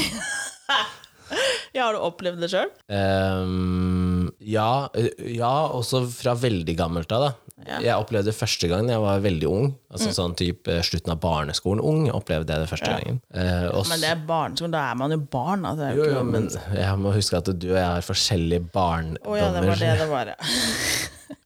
Ja, Har du opplevd det sjøl? Ehm, ja, ø- ja, også fra veldig gammelt av, da. Jeg opplevde det første gang da jeg var veldig ung. Altså Mm. sånn type Slutten av barneskolen ung opplevde jeg det første gangen. Eh, og Men det er barneskolen, da er man jo barn. Altså, det er jo så- ikke jo, jo, noe- men jeg må huske at du og jeg har forskjellige Å ja, det barndommer. var det det var, ja.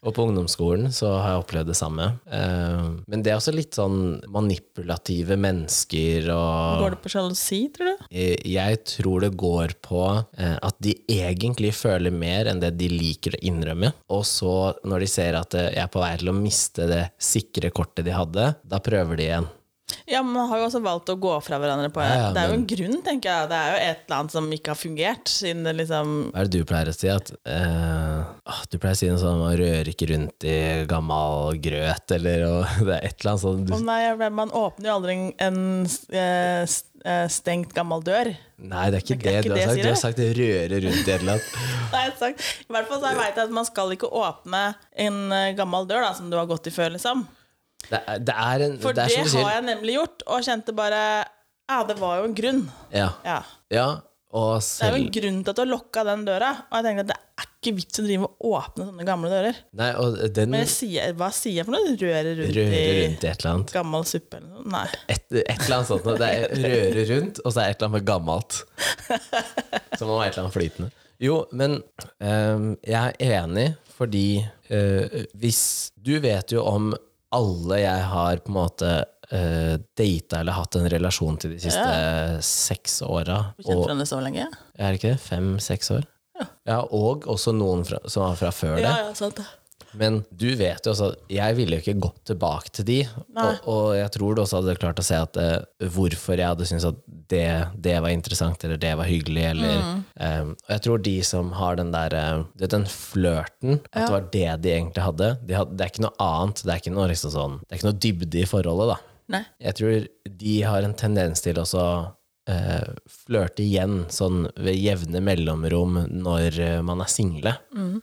Og på ungdomsskolen så har jeg opplevd det samme. Ehm, men det er også litt sånn manipulative mennesker og Går det på sjalusi, tror du? Eh, Jeg tror det går på eh, at de egentlig føler mer enn det de liker å innrømme. Og så, når de ser at eh, jeg er på vei til å miste det sikre kortet de hadde, da prøver de igjen. Ja, men man har jo også valgt å gå fra hverandre på Ja, ja, Det er jo en grunn, tenker jeg. Det er jo et eller annet som ikke har fungert, siden det liksom Hva er det du pleier å si? At, eh, ah, du pleier å si noe sånn man rører ikke rundt i gammel grøt, eller og, det er et eller annet sånt. Å Du, nei, jeg ble- man åpner jo aldri en, en eh, s- eh, stengt gammel dør. nei, det er ikke det, er ikke du har det jeg sagt. sier, Du har sagt eller? røre rundt i et eller annet. Nei, jeg har sagt. I hvert fall så veit jeg vet at man skal ikke åpne en eh, gammel dør da, som du har gått i før, liksom. Det er, det er en For det, det, er som du sier. har jeg nemlig gjort, og kjente bare Ja, det var jo en grunn. Ja. Ja. ja. Og Det er selv jo en grunn til at du har lokka den døra. Og jeg tenkte at det er ikke vits å drive og åpne sånne gamle dører. Nei, og den Men jeg sier, hva sier jeg for noe? Røre rundt rører i Mm. rundt i et eller annet. gammel suppe eller noe? Nei. et, et eller annet sånt. noe. Det er røre rundt, og så er det et eller annet med gammelt. Som om det er et eller annet flytende. Jo, men ehm, jeg er enig, fordi eh, hvis Du vet jo om alle jeg har på en måte uh, data eller hatt en relasjon til de siste seks åra. Har du kjent hverandre så lenge? Er det ikke det? Fem-seks år? Ja. og også noen fra, som var fra før det. Ja, sånn. ja, sant det. Men du vet jo også at jeg ville jo ikke gått tilbake til de, og, og jeg tror du også hadde klart å se at eh, hvorfor jeg hadde syntes at det, det var interessant, eller det var hyggelig, eller eh, Og jeg tror de som har den der eh, Du vet den flørten, at det var det de egentlig hadde. De hadde det er ikke noe annet, det er ikke noe, liksom sånn, det er ikke noe dybde i forholdet, da. Nei. Jeg tror de har en tendens til også eh, flørte igjen, sånn ved jevne mellomrom når eh, man er single.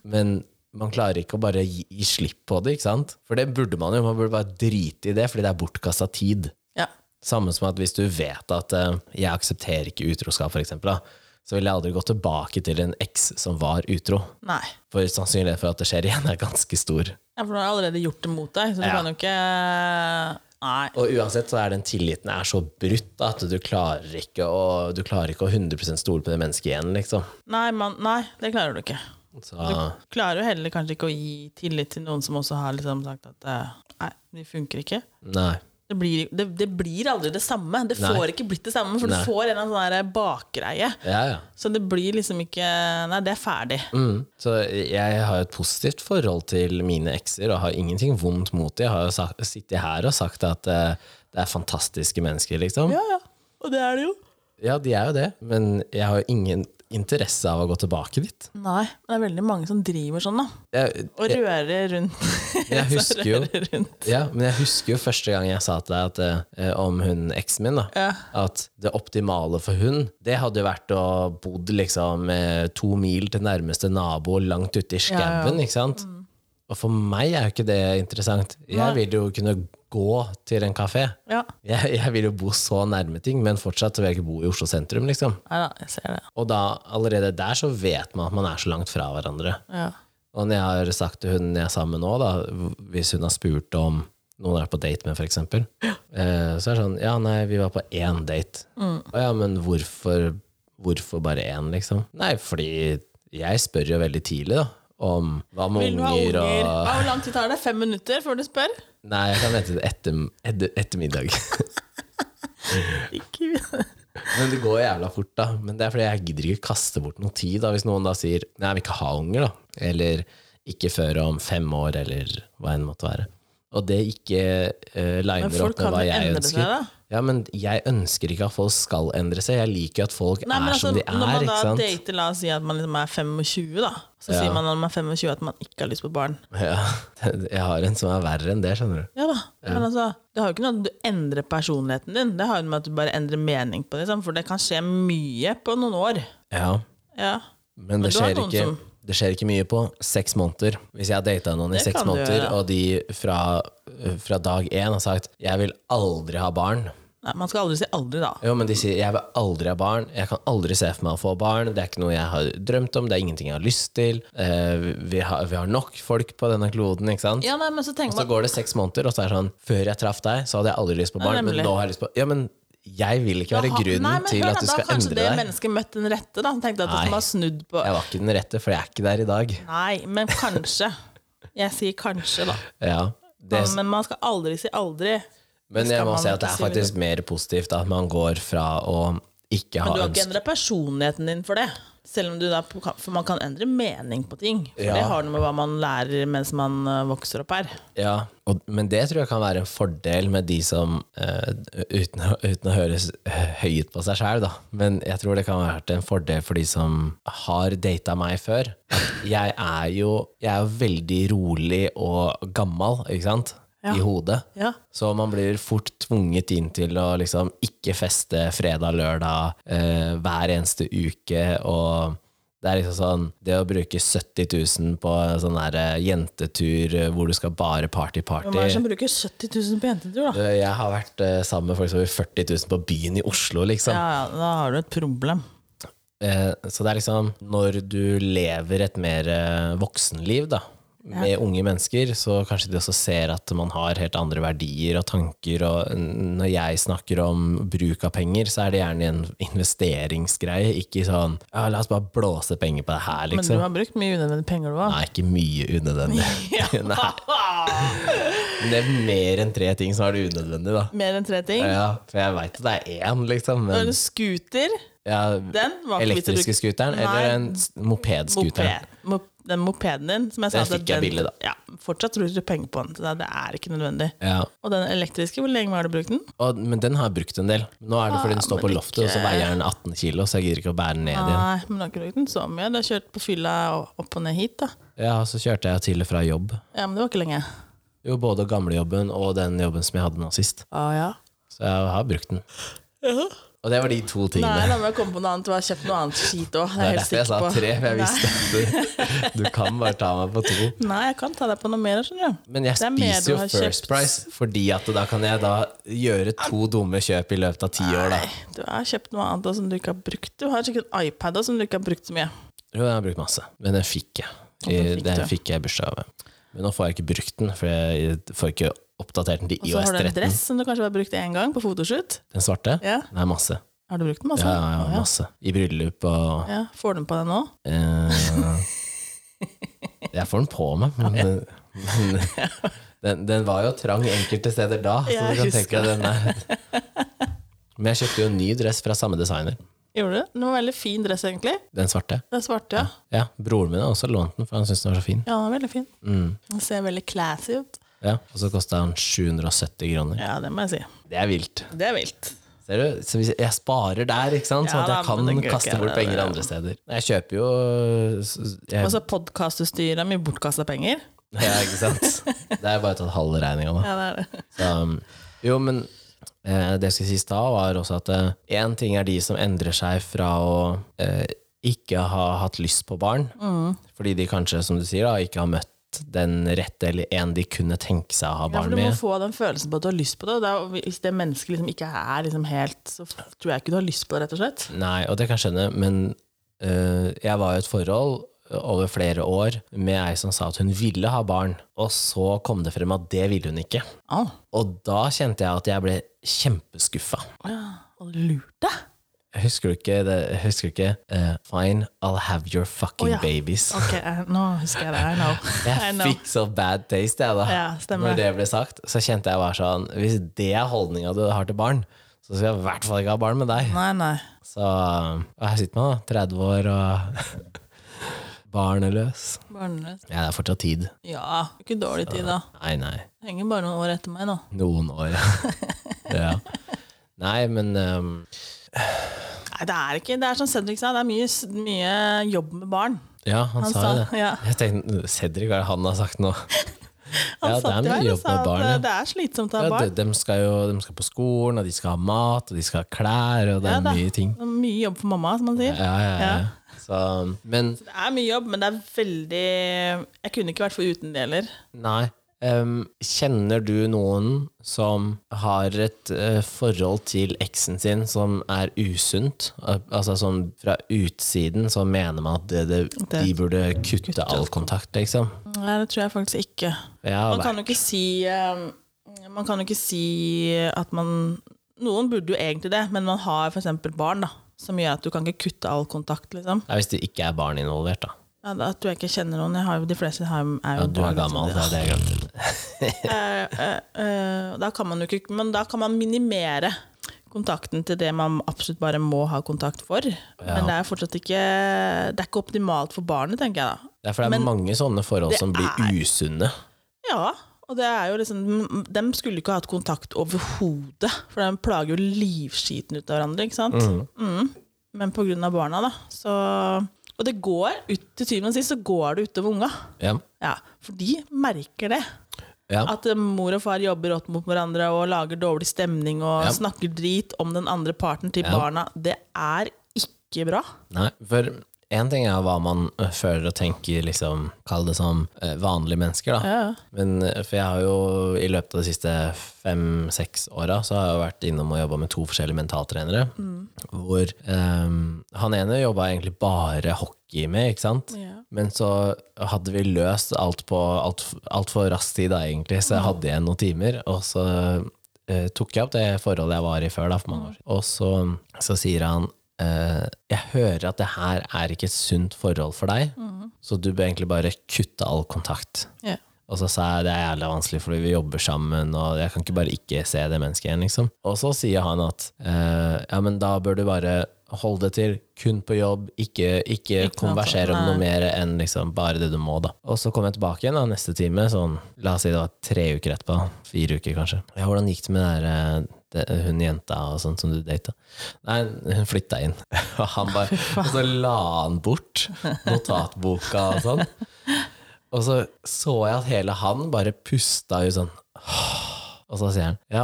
Men man klarer ikke å bare gi, gi slipp på det, ikke sant? For det burde man jo, man burde bare drite i det, fordi det er bortkasta tid. Ja. Samme som at hvis du vet at eh, jeg aksepterer ikke utroskap, for eksempel, da, så vil jeg aldri gå tilbake til en eks som var utro. Nei. For sannsynligheten for at det skjer igjen, er ganske stor. Ja, for du har jeg allerede gjort det mot deg, så du Ja. kan jo ikke eh, Nei. Og uansett så er den tilliten er så brutt da, at du klarer ikke å, du klarer ikke å 100 stole på det mennesket igjen, liksom. Nei, man, nei, det klarer du ikke. Så, Klarer jo heller kanskje ikke å gi tillit til noen som også har liksom sagt at eh, nei, de funker ikke. nei. Det blir, det, det blir aldri det samme. Det Nei. får ikke blitt det samme, for Nei. du får en eller annen sånn der bakgreie. Ja, ja. Så det blir liksom ikke Nei, det er ferdig. Mm. Så jeg har et positivt forhold til mine ekser og har ingenting vondt mot dem. Jeg har jo sagt, sittet her og sagt at eh, det er fantastiske mennesker, liksom. Ja, ja. Og det er det jo. Ja, de er jo det, men jeg har jo ingen interesse av å gå tilbake dit. Nei, men det er veldig mange som driver sånn, da. Jeg, Og rører rundt. Jeg husker jo- Rører rundt. ja, men jeg husker jo første gang jeg sa til deg at, eh, om hun eksen min, da, Ja. at det optimale for hun, det hadde jo vært å bodd liksom eh, to mil til nærmeste nabo langt ute i Ja, ja. skauen, ikke sant? Og for meg er jo ikke det interessant. Nei. Jeg vil jo kunne gå til en kafé. Ja. Jeg, jeg vil jo bo så nærme ting, men fortsatt så vil jeg ikke bo i Oslo sentrum, liksom. Nei da, jeg ser det. Og da, allerede der så vet man at man er så langt fra hverandre. Ja. Og når jeg har sagt til hun jeg er sammen med nå, da, hvis hun har spurt om noen jeg er på date med, f.eks., eh, så er det sånn Ja, nei, vi var på én date. Mm. Å ja, men hvorfor, hvorfor bare én, liksom? Nei, fordi jeg spør jo veldig tidlig, da. Om hva med Vil du ha unger, unger? Ja, og Hvor lang tid tar det? Fem minutter før du spør? Nei, jeg kan vente til etter, etter, ettermiddag. Ikke Men det går jævla fort, da. Men det er fordi jeg gidder ikke kaste bort noe tid. da Hvis noen da sier 'nei, jeg vil ikke ha unger', da. Eller 'ikke før om fem år', eller hva enn måtte være. Og det ikke eh, Men liner opp folk med kan hva jo jeg endre seg, ønsker. da. Ja, men jeg ønsker ikke at folk skal endre seg. Jeg liker jo at folk Nei, er men altså, som de når er, man ikke da sant? dater, la oss si at man liksom er 25, da. Så Ja. sier man når man er 25 at man ikke har lyst på barn. Ja. Jeg har en som er verre enn det, skjønner du. Ja da, men altså, det har jo ikke noe at du endrer personligheten din. Det har jo med at du bare endrer mening på det, liksom, for det kan skje mye på noen år. Ja. Ja, Men det du har skjer, noen ikke, som- det skjer ikke mye på seks måneder. Hvis jeg har data noen i Det seks kan du måneder, gjøre. og de fra, fra dag én har sagt 'jeg vil aldri ha barn', Nei, Man skal aldri si aldri, da. jo, men de sier 'jeg vil aldri ha barn', 'jeg kan aldri se for meg å få barn', 'det er ikke noe jeg har drømt om', 'det er ingenting jeg har lyst til', eh, vi, har, 'vi har nok folk på denne kloden', ikke sant? Ja, nei, men så Og tenker så man går det seks måneder, og så er det sånn 'før jeg traff deg, så hadde jeg aldri lyst på barn', men nemlig. nå har jeg lyst på Ja, men jeg vil ikke Da være har- grunnen Nei, men til hør at da, du da skal har endre Kanskje det deg. mennesket møtte den rette, da. Han tenkte at Nei. han har snudd på Jeg var ikke den rette, for jeg er ikke der i dag. Nei, men kanskje. Jeg sier kanskje, da. Ja, det, Men man skal aldri si aldri. Men skal jeg må man si at det ikke er si videre. faktisk mer positivt at man går fra å ikke ha Men du har ikke ønske endra personligheten din for det. Selv om du da, For man kan endre mening på ting. For Ja. Det har noe med hva man lærer mens man eh, vokser opp her. ja, og, Men det tror jeg kan være en fordel med de som eh, uten, å- uten å høres eh, høyt på seg sjæl, da. Men jeg tror det kan ha vært en fordel for de som har data meg før. At Jeg er jo jeg er jo veldig rolig og gammel, ikke sant? Ja. I hodet. Ja. Så man blir fort tvunget inn til å liksom ikke feste fredag, lørdag, eh, hver eneste uke. Og det er liksom sånn Det å bruke 70 000 på en sånn der eh, jentetur eh, hvor du skal bare Hvem er det party-party som bruker 70 000 på jentetur, da? Jeg har vært eh, sammen med folk som har 40 000 på byen i Oslo, liksom. Ja, ja, da har du et problem. Eh, Så det er liksom Når du lever et mer eh, voksenliv da med unge mennesker, så kanskje de også ser at man har helt andre verdier og tanker. Og n- når jeg snakker om bruk av penger, så er det gjerne en investeringsgreie. Ikke sånn ja, 'la oss bare blåse penger på det her', Men du liksom. har brukt mye unødvendige penger, du òg. Nei, ikke mye unødvendig. Nei, men det er mer enn tre ting som er det unødvendig, da. Mer enn tre ting. Ja, for jeg veit at det er én, liksom, Du har men En scooter. ja, Den var ikke vits i å Elektriske bruke. scooteren Nei. eller en s- mopedskooter? Moped. Mop den mopeden din, som jeg sa Den at fikk jeg billig, da. Ja, fortsatt bruker du penger på den. Så det er- det er ikke nødvendig. Ja. Og den elektriske, hvor lenge har du brukt den? Og, men den har jeg brukt en del. Nå er det fordi den står på Ah, men loftet, og så ikke- Ah. veier den 18 kilo, så jeg gidder ikke å bære den ned igjen. Nei, men du har ikke brukt den så mye. Du har kjørt på fylla og- opp og ned hit, da. Ja, og så kjørte jeg til og fra jobb. Ja, men det var ikke lenge. Jo, både gamlejobben og den jobben som jeg hadde nå sist. Ah, ja. Så jeg har brukt den. Og det var de to tingene. Nei, da må jeg komme på noe annet. Du har kjøpt noe annet skit òg. det er derfor jeg sa tre, for jeg visste at du, du kan bare ta meg på to. Nei, jeg kan ta deg på noe mer, skjønner du. Men jeg Det er mer spiser du jo har First kjøpt. Price, fordi at da kan jeg da gjøre to dumme kjøp i løpet av ti år, da. Nei, du har kjøpt noe annet også, som du ikke har brukt. Du har sikkert en iPad også, som du ikke har brukt så mye. Jo, jeg har brukt masse, men den fikk jeg. I, den fikk den du. fikk jeg i bursdagsgave. Men nå får jeg ikke brukt den, for jeg får ikke oppdatert den til Og så IOS har du 13. en dress som du kanskje har brukt én gang, på fotoshoot. Den svarte? Ja. Nei, masse. Har du brukt den masse? Ja, ja, ja, masse. I bryllup og Ja, Får du den på deg nå? eh, Jeg får den på meg, men, men Den, den var jo trang enkelte steder da, så Jeg du kan husker tenke deg den der. Men jeg kjøpte jo en ny dress fra samme designer. Gjorde du det? Den var veldig fin dress, egentlig. Den svarte. Den svarte, ja. Ja, Broren min har også lånt den, for han syntes den var så fin. Ja, den er veldig fin. Den ser veldig classy ut. Ja, Og så kosta den 770 kroner. Ja, det må jeg si. Det er vilt. Det er vilt. Ser du? Så hvis jeg- jeg sparer der, ikke sant? sånn Ja, at jeg da, kan men det går kaste ikke, bort det- penger andre steder. Jeg kjøper jo s- jeg, Og så podkastutstyret med bortkasta penger. Ja, ikke sant? Det er bare sånn tatt halve regninga, da. Ja, det er det. Så, um, jo, men eh, det jeg skulle si i stad, var også at én ting er de som endrer seg fra å eh, ikke ha hatt lyst på barn, Mm. fordi de kanskje, som du sier, da, ikke har møtt den rette eller en de kunne tenke seg å ha Ja, for barn du må med. få den følelsen på at du har lyst på det. og det er, hvis det mennesket liksom ikke er liksom helt Så tror jeg ikke du har lyst på det, rett og slett. Nei, og det kan jeg skjønne, men øh, jeg var i et forhold eh, over flere år med ei som sa at hun ville ha barn, og så kom det frem at det ville hun ikke. Au. Og da kjente jeg at jeg ble kjempeskuffa. Ja, og lurte. Husker du ikke, det, husker du ikke eh, Fine, I'll have your fucking Å, ja. babies. Ok, eh, nå husker jeg det. I know. I Jeg know. fikk så bad taste, jeg da. Ja, stemmer Når det ble sagt, så kjente jeg bare sånn Hvis det er holdninga du har til barn, så skal jeg i hvert fall ikke ha barn med deg. Nei, nei. Så og her sitter man, da. 30 år og barneløs. Barnløs. Ja, det er fortsatt tid. Ja, ikke dårlig tid, da. Nei, nei. Det Henger bare noen år etter meg, da. Noen år, ja. ja. Nei, men ehm, Nei, det er ikke Det er som Cedric sa, det er mye, s- mye jobb med barn. Ja, han, Han sa sa- jo det. ja. Jeg tenkte, Cedric, hva er det han har sagt nå? Han Ja, det satt er jo her mye og jobb sa med at, barn. eh, ja. Det er slitsomt å Ja, ha de, barn. de, skal jo, de skal på skolen, og de skal ha mat, og de skal ha klær, og det Ja, er da. mye ting. Det er Mye jobb for mamma, som man sier. Ja, ja, ja. Så, men Det er mye jobb, men det er veldig Jeg kunne ikke vært foruten det heller. nei. ehm, kjenner du noen som har et eh, forhold til eksen sin som er usunt? Al- Altså som fra utsiden så mener man at det, det, de burde kutte all kontakt, liksom. Nei, det tror jeg faktisk ikke. Jeg har Man kan jo ikke si eh, Man kan jo ikke si at man Noen burde jo egentlig det, men man har f.eks. barn, da. Som gjør at du kan ikke kutte all kontakt, liksom. Nei, hvis det ikke er barn involvert, da. Ja, da tror jeg ikke jeg kjenner noen. Jeg har jo, de fleste har, jo- er jo Ja, du er barn, liksom. gammel, det er det jeg glemte. Eh, eh, eh, da kan man jo ikke Men da kan man minimere kontakten til det man absolutt bare må ha kontakt for. Men det er fortsatt ikke Det er ikke optimalt for barnet, tenker jeg da. Det er for det er mange sånne forhold som blir usunne. Ja, og det er jo liksom De skulle ikke hatt kontakt overhodet, for de plager jo livskiten ut av hverandre, ikke sant? Mm. Men på grunn av barna, da. Så Og det går, ut, til syvende og sist, så går det utover unga. Ja. Ja, for de merker det. Ja. At eh, mor og far jobber rått mot hverandre og lager dårlig stemning og Ja. snakker drit om den andre parten til Ja. barna. Det er ikke bra. Nei, for én ting er hva man ø, føler og tenker, liksom, kall det som ø, vanlige mennesker, da. Ja. Men ø, for jeg har jo i løpet av de siste fem-seks åra så har jeg jo vært innom og jobba med to forskjellige mentaltrenere. Mm. Hvor ø, han ene jobba egentlig bare hockey med, ikke sant. Ja. Men så hadde vi løst alt på altfor alt altfor rask tid da, egentlig, så jeg hadde igjen noen timer. Og så eh, tok jeg opp det forholdet jeg var i før, da, for mange år siden. Og så, så sier han eh, Jeg hører at det her er ikke et sunt forhold for deg, så du bør egentlig bare kutte all kontakt. Ja. Og så sa jeg det er jævlig vanskelig fordi vi jobber sammen, og jeg kan ikke bare ikke se det mennesket igjen, liksom. Og så sier han at eh, ja, men da bør du bare holde det til kun på jobb, ikke, ikke, konversere om noe mer enn liksom bare det du må, da. Og så kom jeg tilbake igjen da, neste time, sånn la oss si det var tre uker etterpå, fire uker kanskje. Ja, hvordan gikk det med det der eh, det, hun jenta og sånt som du data. Nei, hun flytta inn. Og han bare Og så la han bort notatboka og sånn. Og så så jeg at hele han bare pusta ut sånn Og så sier han Ja,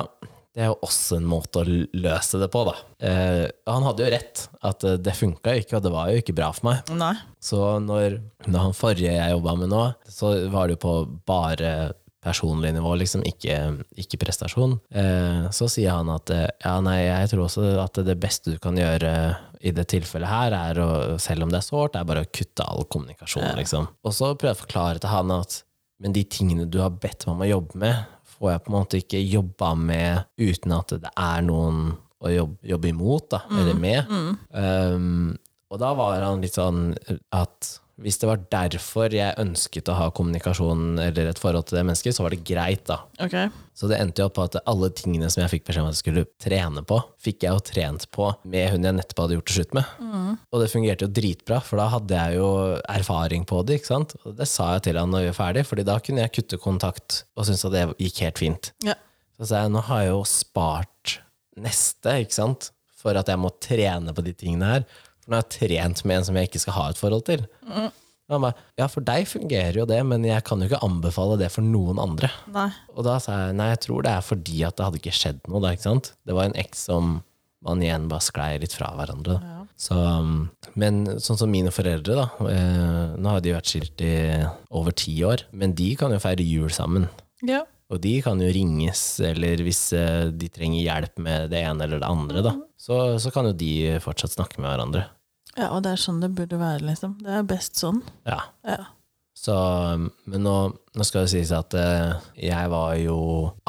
det er jo også en måte å løse det på, da. Eh, og han hadde jo rett, at eh, det funka jo ikke, og det var jo ikke bra for meg. Nei. Så når, når han forrige jeg jobba med nå, så var det jo på bare personlig nivå, liksom, ikke, ikke prestasjon. Eh, så sier han at eh, ja, nei, jeg tror også at det beste du kan gjøre i det tilfellet her, er å, selv om det er sårt, er bare å kutte all kommunikasjon, liksom. Og så prøver jeg å forklare til han at men de tingene du har bedt meg om å jobbe med, får jeg på en måte ikke jobba med uten at det er noen å jobbe, jobbe imot, da, eller med. Um, og da var han litt sånn at Hvis det var derfor jeg ønsket å ha kommunikasjon eller et forhold til det mennesket, så var det greit, da. Ok. Så det endte jo opp på at alle tingene som jeg fikk beskjed om at jeg skulle trene på, fikk jeg jo trent på med hun jeg nettopp hadde gjort til slutt med. Og det fungerte jo dritbra, for da hadde jeg jo erfaring på det. ikke sant? Og det sa jeg til han når vi var ferdig, fordi da kunne jeg kutte kontakt og syntes at det gikk helt fint. Ja. Så sa jeg, nå har jeg jo spart neste, ikke sant? For at jeg må trene på de tingene her. For nå har jeg trent med en som jeg ikke skal ha et forhold til. Og han bare, ja, for deg fungerer jo det, men jeg kan jo ikke anbefale det for noen andre. Nei. Og da sa jeg, nei, jeg tror det er fordi at det hadde ikke skjedd noe da, ikke sant? Det var en eks som man igjen bare sklei litt fra hverandre. Da. Så, um, men sånn som mine foreldre da, eh, nå har de vært skilt i over ti år, men de kan jo feire jul sammen. Ja. Og de kan jo ringes, eller hvis eh, de trenger hjelp med det ene eller det andre, da, så, så kan jo de fortsatt snakke med hverandre. ja, og det er sånn det burde være, liksom. Det er best sånn. Ja. Ja. Så, um, men nå, nå skal det sies at eh, jeg var jo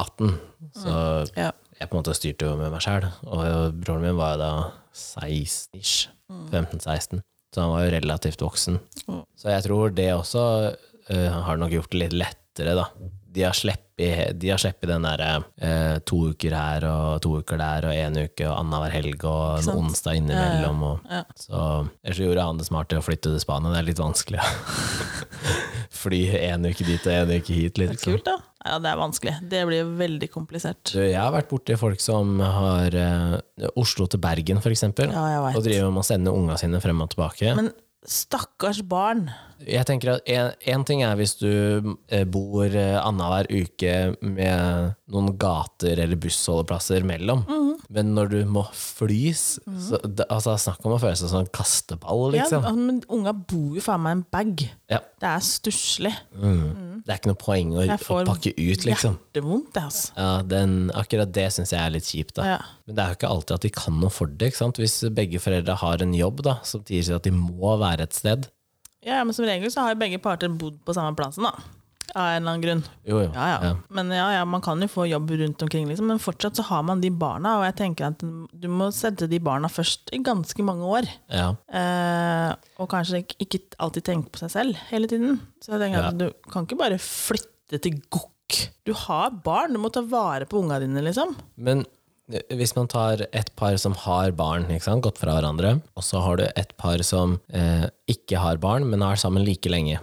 18, så Ja. jeg på en måte styrte jo med meg sjæl. Og broren min var jo da 16-ish. 15-16. Så han var jo relativt voksen. Mm. Så jeg tror det også eh, har nok gjort det litt lettere, da. De har sluppet de har sluppet den derre eh, to uker her og to uker der og en uke og annenhver helg og en sant? onsdag innimellom. Og, Ja. Så ellers så gjorde han det smart til å flytte til Spania. Det er litt vanskelig. å Fly en uke dit og en uke hit, Det er liksom. kult, da. Ja, det er vanskelig. Det blir veldig komplisert. Du, Jeg har vært borti folk som har eh, Oslo til Bergen, for eksempel. Ja, jeg og veit. driver med å sende unga sine frem og tilbake. Men stakkars barn. jeg tenker at en, en ting er hvis du eh, bor eh, annenhver uke med noen gater eller bussholdeplasser mellom, Mhm. men når du må flys så, det, altså, Snakk om å føle seg som en kasteball, Ja, altså, liksom. men unga bor jo faen meg i en bag. Ja. Det er stusslig. Det er ikke noe poeng å, Mhm. Jeg får å pakke ut, liksom. Hjertevondt, det, altså. Ja, den, akkurat det syns jeg er litt kjipt. da. Ja. Men det er jo ikke alltid at de kan noe for det. ikke sant? Hvis begge foreldre har en jobb da, som sier at de må være et sted Ja, men som regel så har jo begge parter bodd på samme plassen, da. Av en eller annen grunn. Jo, jo. Ja, ja. Men ja, ja, man kan jo få jobb rundt omkring, liksom. Men fortsatt så har man de barna, og jeg tenker at du må sette de barna først i ganske mange år. Ja. Eh, og kanskje ikke- ikke alltid tenke på seg selv hele tiden. Så jeg tenker Ja. at du kan ikke bare flytte til Gokk. Du har barn, du må ta vare på unga dine, liksom. Men eh, hvis man tar et par som har barn, ikke sant? gått fra hverandre, og så har du et par som eh, ikke har barn, men er sammen like lenge,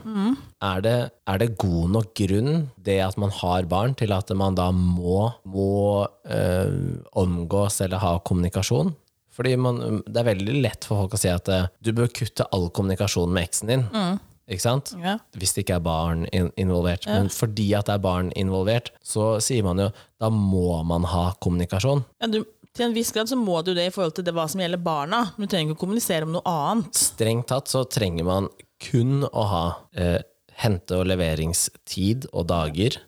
er, det, er det god nok grunn, det at man har barn, til at man da må, må eh, omgås eller ha kommunikasjon? Fordi man, det er veldig lett for folk å si at eh, du bør kutte all kommunikasjon med eksen din. Ikke sant? Ja. hvis det ikke er barn in involvert. Men fordi at det er barn involvert, så sier man jo da må man ha kommunikasjon. Ja, du, til en viss grad så må du det i forhold til det, hva som gjelder barna. Men du trenger ikke å kommunisere om noe annet. Strengt tatt så trenger man kun å ha eh, hente- og leveringstid og dager.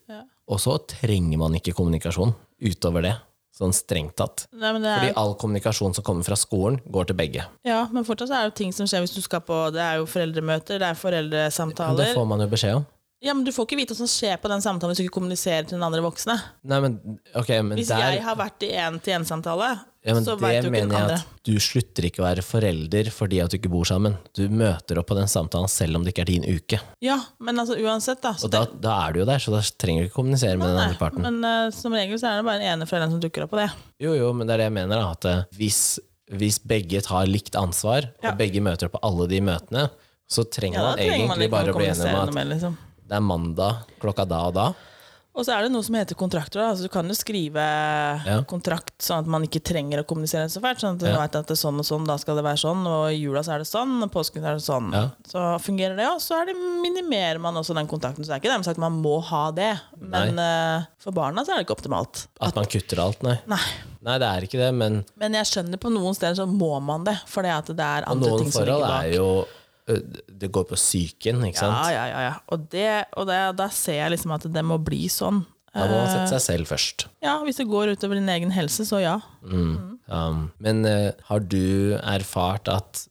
Og så trenger man ikke kommunikasjon utover det, sånn strengt tatt. Nei, men det er Fordi all kommunikasjon som kommer fra skolen, går til begge. Ja, men fortsatt så er det jo ting som skjer hvis du skal på Det er jo foreldremøter, det er Men det foreldresamtaler. får man jo beskjed om. Ja, men Du får ikke vite hva som skjer på den samtalen hvis du ikke kommuniserer til den andre voksne. Nei, men, ok, men Hvis der, jeg har vært i én-til-én-samtale, Ja, men så det veit jo ikke den mener jeg andre. at du slutter ikke å være forelder fordi at du ikke bor sammen. Du møter opp på den samtalen selv om det ikke er din uke. Ja, men altså uansett, da. Så Og da, da er du jo der, så da trenger du ikke kommunisere med den nei, andre parten. men eh, som regel så er det bare den ene forelderen som dukker opp på det. Jo, jo, men det er det jeg mener, da, at eh, hvis, hvis begge tar likt ansvar, Ja. og begge møter opp på alle de møtene, så trenger Ja, da man trenger egentlig man ikke bare å å bli enig kommunisere om noe at mer, liksom. det er mandag klokka da og da. Og så er det noe som heter kontrakter. da. Altså, du kan jo skrive Ja. kontrakt sånn at man ikke trenger å kommunisere så fælt. Sånn at du Ja. vet at det er sånn og sånn, da skal det være sånn, og i jula så er det sånn, og påsken er det sånn. Ja. Så fungerer det, ja. Så er det minimerer man også den kontakten. Så det er ikke dermed sagt at man må ha det, men eh, for barna så er det ikke optimalt. At man kutter alt, nei. Nei. Nei, det er ikke det, men Men jeg skjønner på noen steder så må man det, for det at det er andre noen ting som ligger forhold bak. er jo ø, Det går på psyken, ikke sant? Ja, ja, ja, ja. Og, det, og det, da ser jeg liksom at det må bli sånn. Da må man sette seg selv først. Ja, hvis det går utover din egen helse, så ja. Um, men eh, har du erfart at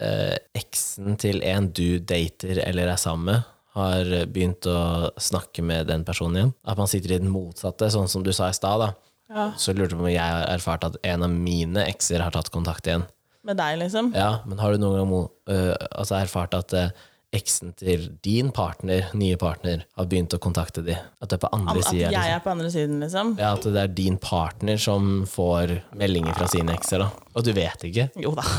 eh, eksen til en du dater eller er sammen med, har eh, begynt å snakke med den personen igjen? At man sitter i den motsatte, sånn som du sa i stad. da. Ja. Så lurte jeg på om jeg har erfart at en av mine ekser har tatt kontakt igjen. Med deg, liksom. Ja, Men har du noen gang mo- eh, altså erfart at eh, eksen til din partner, nye partner, har begynt å kontakte de. At det er på andre At sida. jeg Liksom. er på andre siden, liksom? Ja, at det er din partner som får meldinger fra sine ekser, da. Og du vet ikke. Jo da.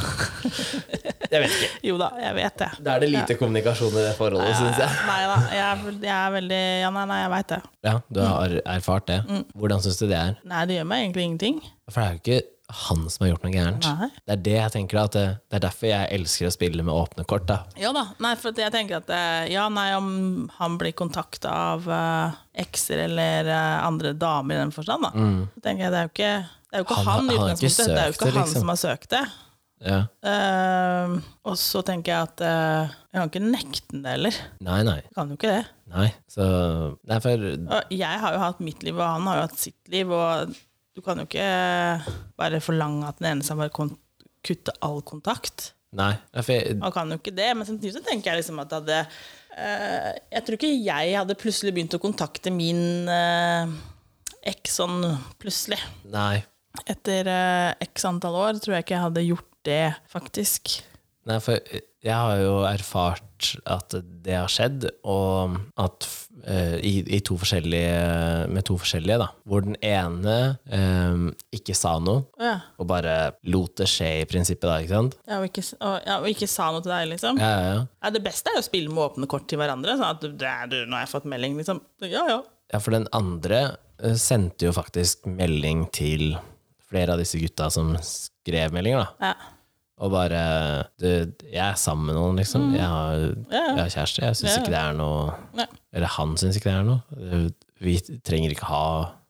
Jeg vet ikke. Jo da, jeg vet det. Da er det lite kommunikasjon i det forholdet, syns jeg. Nei da, jeg er, vel- jeg er veldig Ja, nei, nei, jeg veit det. Ja, du har erfart det. Hvordan syns du det er? Nei, det gjør meg egentlig ingenting. For det er jo ikke han som har gjort noe gærent. Nei. Det er det jeg tenker da, at det, det er derfor jeg elsker å spille med åpne kort. da. Ja da. Nei, for at jeg tenker at eh, Ja, nei, om han blir kontakta av eh, ekser eller eh, andre damer i den forstand, da, så tenker jeg det er jo ikke det er jo ikke Mm. Han han, har- i han har ikke utgangspunktet. Det er jo søkt ikke det, han liksom. som har søkt det. Ja. Eh, og så tenker jeg at eh, jeg kan ikke nekte den det heller. Nei, nei, Jeg kan jo ikke det. nei. Så Nei, for Og jeg har jo hatt mitt liv, og han har jo hatt sitt liv, og du kan jo ikke bare forlange at den ene skal bare kon kutte all kontakt. Nei. Ja, for jeg, Man kan jo ikke det, men samtidig så tenker jeg liksom at det hadde eh, Jeg tror ikke jeg hadde plutselig begynt å kontakte min eh, eks sånn plutselig. nei. Etter eh, x antall år tror jeg ikke jeg hadde gjort det, faktisk. Nei, for eh, jeg har jo erfart at det har skjedd, og at f- eh, i, i to forskjellige Med to forskjellige, da. Hvor den ene eh, ikke sa noe, Å ja. og bare lot det skje i prinsippet, da, ikke sant? Ja, og, ikke, s- og, ja, og ikke sa noe til deg, liksom. Ja, ja, ja. Ja, det beste er jo å spille med åpne kort til hverandre. Sånn at du, det er du, 'Nå har jeg fått melding', liksom. Ja, ja. Ja, for den andre eh, sendte jo faktisk melding til flere av disse gutta som skrev meldinger, da. ja. Og bare du, 'Jeg er sammen med noen, liksom. Jeg har, Mm. ja. jeg har kjæreste. Jeg syns Ja, ja. ikke det er noe Nei. Eller han syns ikke det er noe. Vi trenger ikke ha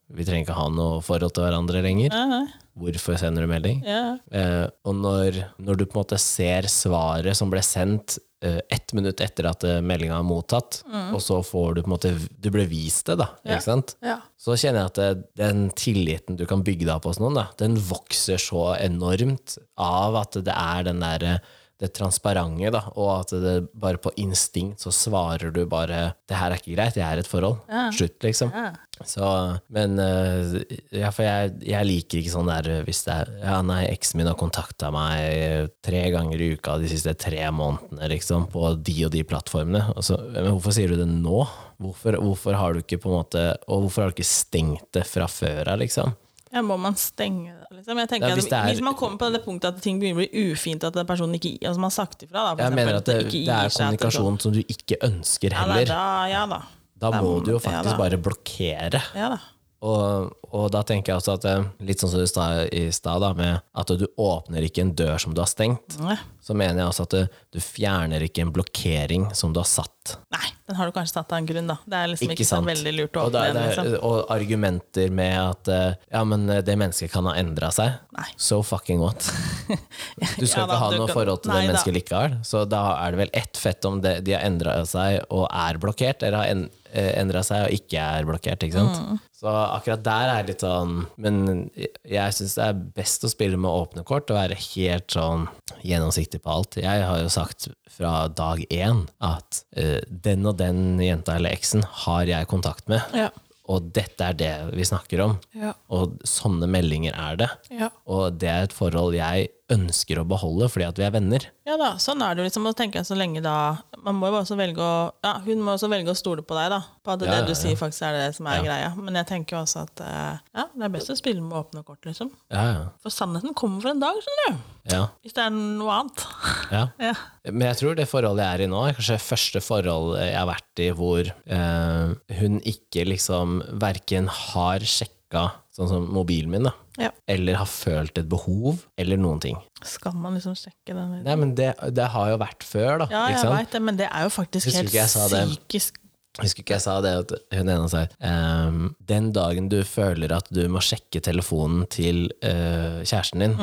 vi trenger ikke ha noe forhold til hverandre lenger. Ja, ja, Hvorfor sender du melding? ja. Eh, og når, når du på en måte ser svaret som ble sendt eh, ett minutt etter at eh, meldinga er mottatt, og så får du på en måte Du ble vist det, da. Ja. Ikke sant? ja. så kjenner jeg at det, den tilliten du kan bygge deg opp hos noen, da, den vokser så enormt av at det er den der, eh, det transparente, da, og at det bare på instinkt så svarer du bare 'det her er ikke greit, jeg er i et forhold'. Slutt, liksom. Ja. Så, men eh, ja, for jeg, jeg liker ikke sånn der eh, hvis det er Ja, nei, eksen min har kontakta meg tre ganger i uka de siste tre månedene, liksom, på de og de plattformene. Og så, men hvorfor sier du det nå? Hvorfor, hvorfor har du ikke på en måte Og hvorfor har du ikke stengt det fra før av, liksom? Ja, må man stenge det, liksom? Jeg tenker Ja, hvis at det er- hvis man kommer på det punktet at ting begynner å bli ufint, at den personen ikke altså man har sagt ifra, da, for Jeg eksempel, mener at det, ikke det gir er seg, at det- kommunikasjon som du ikke ønsker Ja, nei, heller. da, ja da. Da må du jo Ja, faktisk da. bare blokkere. Ja da. Og, og da tenker jeg også at eh, litt sånn som du sa i stad, da, med at du åpner ikke en dør som du har stengt. Nei. så mener jeg også at du, du fjerner ikke en blokkering som du har satt. Nei, den har du kanskje satt av en grunn, da. Det er liksom Ikke ikke, så sant? veldig lurt å Og, da, åpne den, det er- liksom. og argumenter med at eh, ja, men eh, det mennesket kan ha endra seg. Nei. So fucking what? Du skal Ja da, ikke ha du noe kan- forhold til Nei det da. mennesket likevel. Så da er det vel ett fett om det, de har endra seg og er blokkert, eller har en- eh, endra seg og ikke er blokkert. ikke sant? Så akkurat der er det litt sånn Men jeg- jeg syns det er best å spille med åpne kort og være helt sånn gjennomsiktig på alt. Jeg har jo sagt fra dag én at eh, den og den jenta eller eksen har jeg kontakt med, Ja. og dette er det vi snakker om. Ja. Og sånne meldinger er det. Ja. Og det er et forhold jeg ønsker å beholde fordi at vi er venner. ja da, sånn er det jo liksom. Og så tenker jeg så lenge da Man må jo også velge å Ja, hun må også velge å stole på deg, da. På at det, Ja, ja, du ja. sier faktisk er det som er greia. Men jeg tenker jo også at eh, ja, det er best å spille med åpne kort, liksom. Ja, ja. For sannheten kommer for en dag, skjønner du. ja, Hvis det er noe annet. ja. Ja. Men jeg tror det forholdet jeg er i nå, er kanskje det første forholdet jeg har vært i hvor eh, hun ikke liksom verken har sjekka sånn som mobilen min, da, Ja. eller har følt et behov, eller noen ting. Skal man liksom sjekke den? Nei, men det, det har jo vært før, da. Ja, ikke jeg sant? veit det, men det er jo faktisk Husker helt ikke jeg sa det. psykisk Husker ikke jeg sa det at hun ene sa ehm, Den dagen du føler at du må sjekke telefonen til eh, kjæresten din,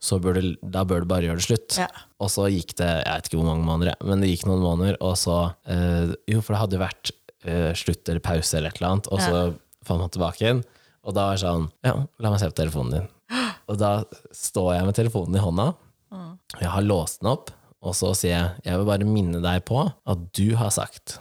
så bør du, da bør du bare gjøre det slutt. Ja. Og så gikk det jeg vet ikke hvor mange måneder, jeg, men det gikk noen måneder, og så eh, Jo, for det hadde jo vært eh, slutt eller pause eller et eller annet, og så fant man tilbake igjen. Og da var det sånn Ja, la meg se på telefonen din. Og da står jeg med telefonen i hånda. Jeg har låst den opp, og så sier jeg jeg vil bare minne deg på at du har sagt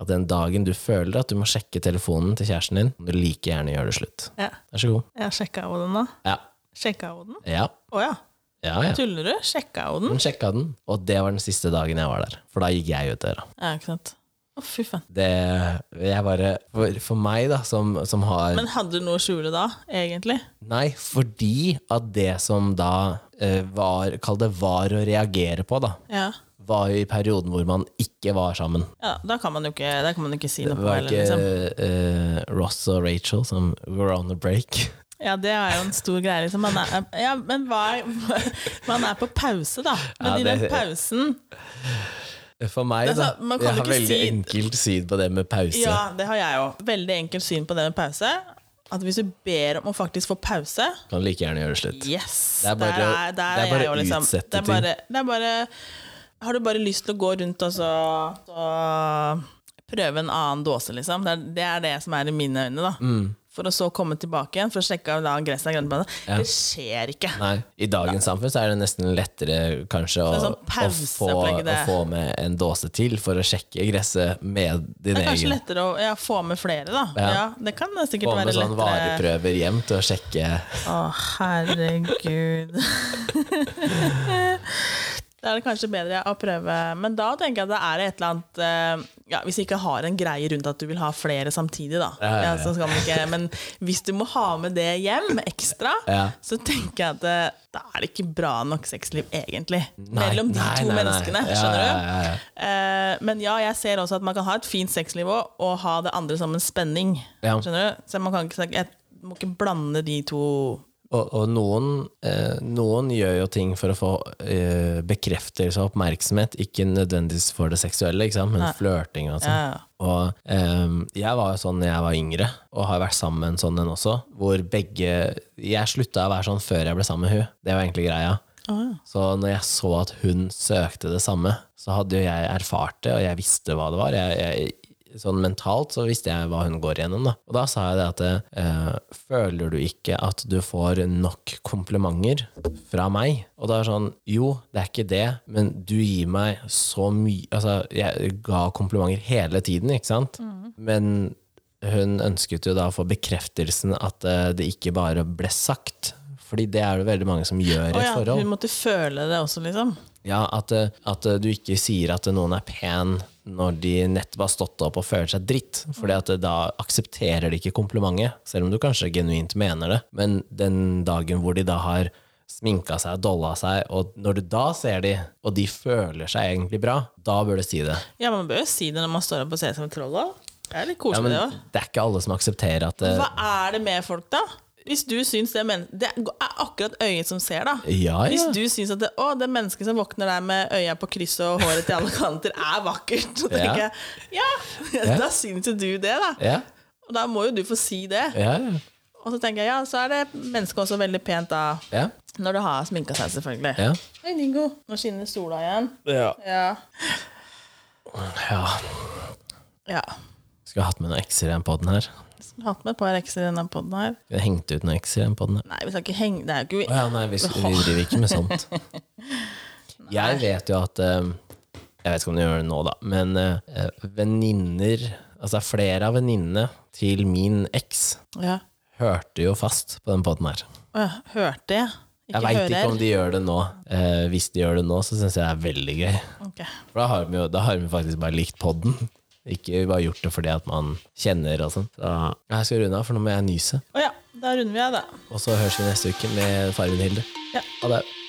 at den dagen du føler at du må sjekke telefonen til kjæresten din, kan du like gjerne gjøre det slutt. Ja. Vær så god. Jeg sjekka jo den, da. Ja. Sjekka jo den? Ja. Å ja. Ja, ja. Tuller du? Sjekka jo den? Hun sjekka den, og det var den siste dagen jeg var der. For da gikk jeg ut døra. Ja, ikke sant. Å, fy faen. Det, jeg bare, for, for meg, da, som, som har Men hadde du noe å skjule da, egentlig? Nei, fordi at det som da eh, var Kall det var å reagere på, da, Ja. var jo i perioden hvor man ikke var sammen. ja da kan man jo ikke, da kan man jo ikke si Det noe på var heller, ikke liksom. eh, Ross og Rachel som were on a break. Ja, det er jo en stor greie, liksom. Man er, ja, men hva er, Man er på pause, da. Men Ja, i den det- pausen For meg, da. Det er så- Altså, man kan Jeg jo har ikke veldig si- enkelt syn på det med pause. Ja, det har jeg òg. Veldig enkelt syn på det med pause. At hvis du ber om å faktisk få pause Kan like gjerne gjøre det slutt. Yes! Det er bare- der er, der det er bare jeg jo, liksom. utsette det er bare, det er bare Har du bare lyst til å gå rundt og så, så prøve en annen dåse, liksom? Det er, det er det som er i mine øyne, da. Mm. For å så komme tilbake igjen, for å sjekke om da gresset er grønt. på det. Det skjer ikke. Nei, I dagens samfunn så er det nesten lettere kanskje å, Det er sånn å, få, pauseopplegg, å det. få med en dåse til for å sjekke gresset med din Det er kanskje egen. lettere å ja, få med flere, da. Ja. Ja. det kan sikkert Få med være sånn lettere. vareprøver hjem til å sjekke. Å, herregud. Da er det kanskje bedre å prøve Men da tenker jeg at det er et eller annet eh, ja, Hvis jeg ikke har en greie rundt at du vil ha flere samtidig, da. Ja, ja, ja. så skal man ikke, men hvis du må ha med det hjem ekstra, Ja. så tenker jeg at eh, da er det ikke bra nok sexliv, egentlig. Nei, mellom de nei, to nei, nei. menneskene, Ja, skjønner du? ja, ja, ja. Eh, men ja, jeg ser også at man kan ha et fint sexliv òg, og ha det andre som en spenning. Ja. Skjønner du? Så man kan ikke, snakke- jeg må ikke blande de to Og, og noen, eh, noen gjør jo ting for å få eh, bekreftelse og oppmerksomhet, ikke nødvendigvis for det seksuelle, ikke sant? men flørting og sånn. Ja, ja. Og ehm, jeg var jo sånn da jeg var yngre, og har vært sammen med en sånn en også. Hvor begge Jeg slutta å være sånn før jeg ble sammen med hun. Det var egentlig greia. Så når jeg så at hun søkte det samme, så hadde jo jeg erfart det, og jeg visste hva det var. Jeg, jeg, sånn mentalt så visste jeg hva hun går gjennom, da. Og da sa jeg det at eh, Føler du ikke at du får nok komplimenter fra meg? Og da er det sånn Jo, det er ikke det, men du gir meg så mye Altså, jeg ga komplimenter hele tiden, ikke sant? Mm. Men hun ønsket jo da å få bekreftelsen at eh, det ikke bare ble sagt. Fordi det er det veldig mange som gjør i et Å ja, forhold. Hun måtte føle det også, liksom. Ja, at, eh, at eh, du ikke sier at noen er pen når de nettopp har stått opp og føler seg dritt. Fordi at eh, da aksepterer de ikke komplimentet, selv om du kanskje genuint mener det. Men den dagen hvor de da har sminka seg, dolla seg, og når du da ser de, og de føler seg egentlig bra, da bør du si det. Ja, Man bør jo si det når man står opp og ser som et troll òg. Det er litt Ja, koselig, men det òg. det er ikke alle som aksepterer at eh, Hva er det med folk, da? Hvis du syns det men Det er akkurat øyet som ser, da. Ja, ja. Hvis du syns at det, å, det mennesket som våkner der med øya på krysset og håret til alle kanter, er vakkert, så Ja. tenker jeg ja, Ja. da syns jo du det, da. Ja, Og da må jo du få si det. ja, ja. Og så tenker jeg ja, så er det mennesket også veldig pent da, ja, når det har sminka seg, selvfølgelig. ja. Hei, Ningo. Nå skinner sola igjen. Ja. Ja. ja. ja. Skulle hatt med noen ekser i den podden her. Skulle Hatt med et par ekser i denne poden her. Skulle hengt ut noen ekser i den podden her. Nei, vi skal ikke henge Det er jo Å ikke ja, nei, vi, vi driver ikke med sånt. Jeg vet jo at eh, Jeg vet ikke om du gjør det nå, da, men eh, venninner Altså det er flere av venninnene til min eks Ja. hørte jo fast på den poden her. Å ja. Hørte jeg? Ikke Jeg veit hører. ikke om de gjør det nå. Eh, hvis de gjør det nå, så syns jeg det er veldig gøy. Ok. For da har vi jo da har vi faktisk bare likt poden. Ikke bare gjort det fordi at man kjenner og sånn. Så jeg skal runde av, for nå må jeg nyse. Å ja, da runder vi av, da. Og så høres vi neste uke med Fargen Hilde. Ja. Ha det.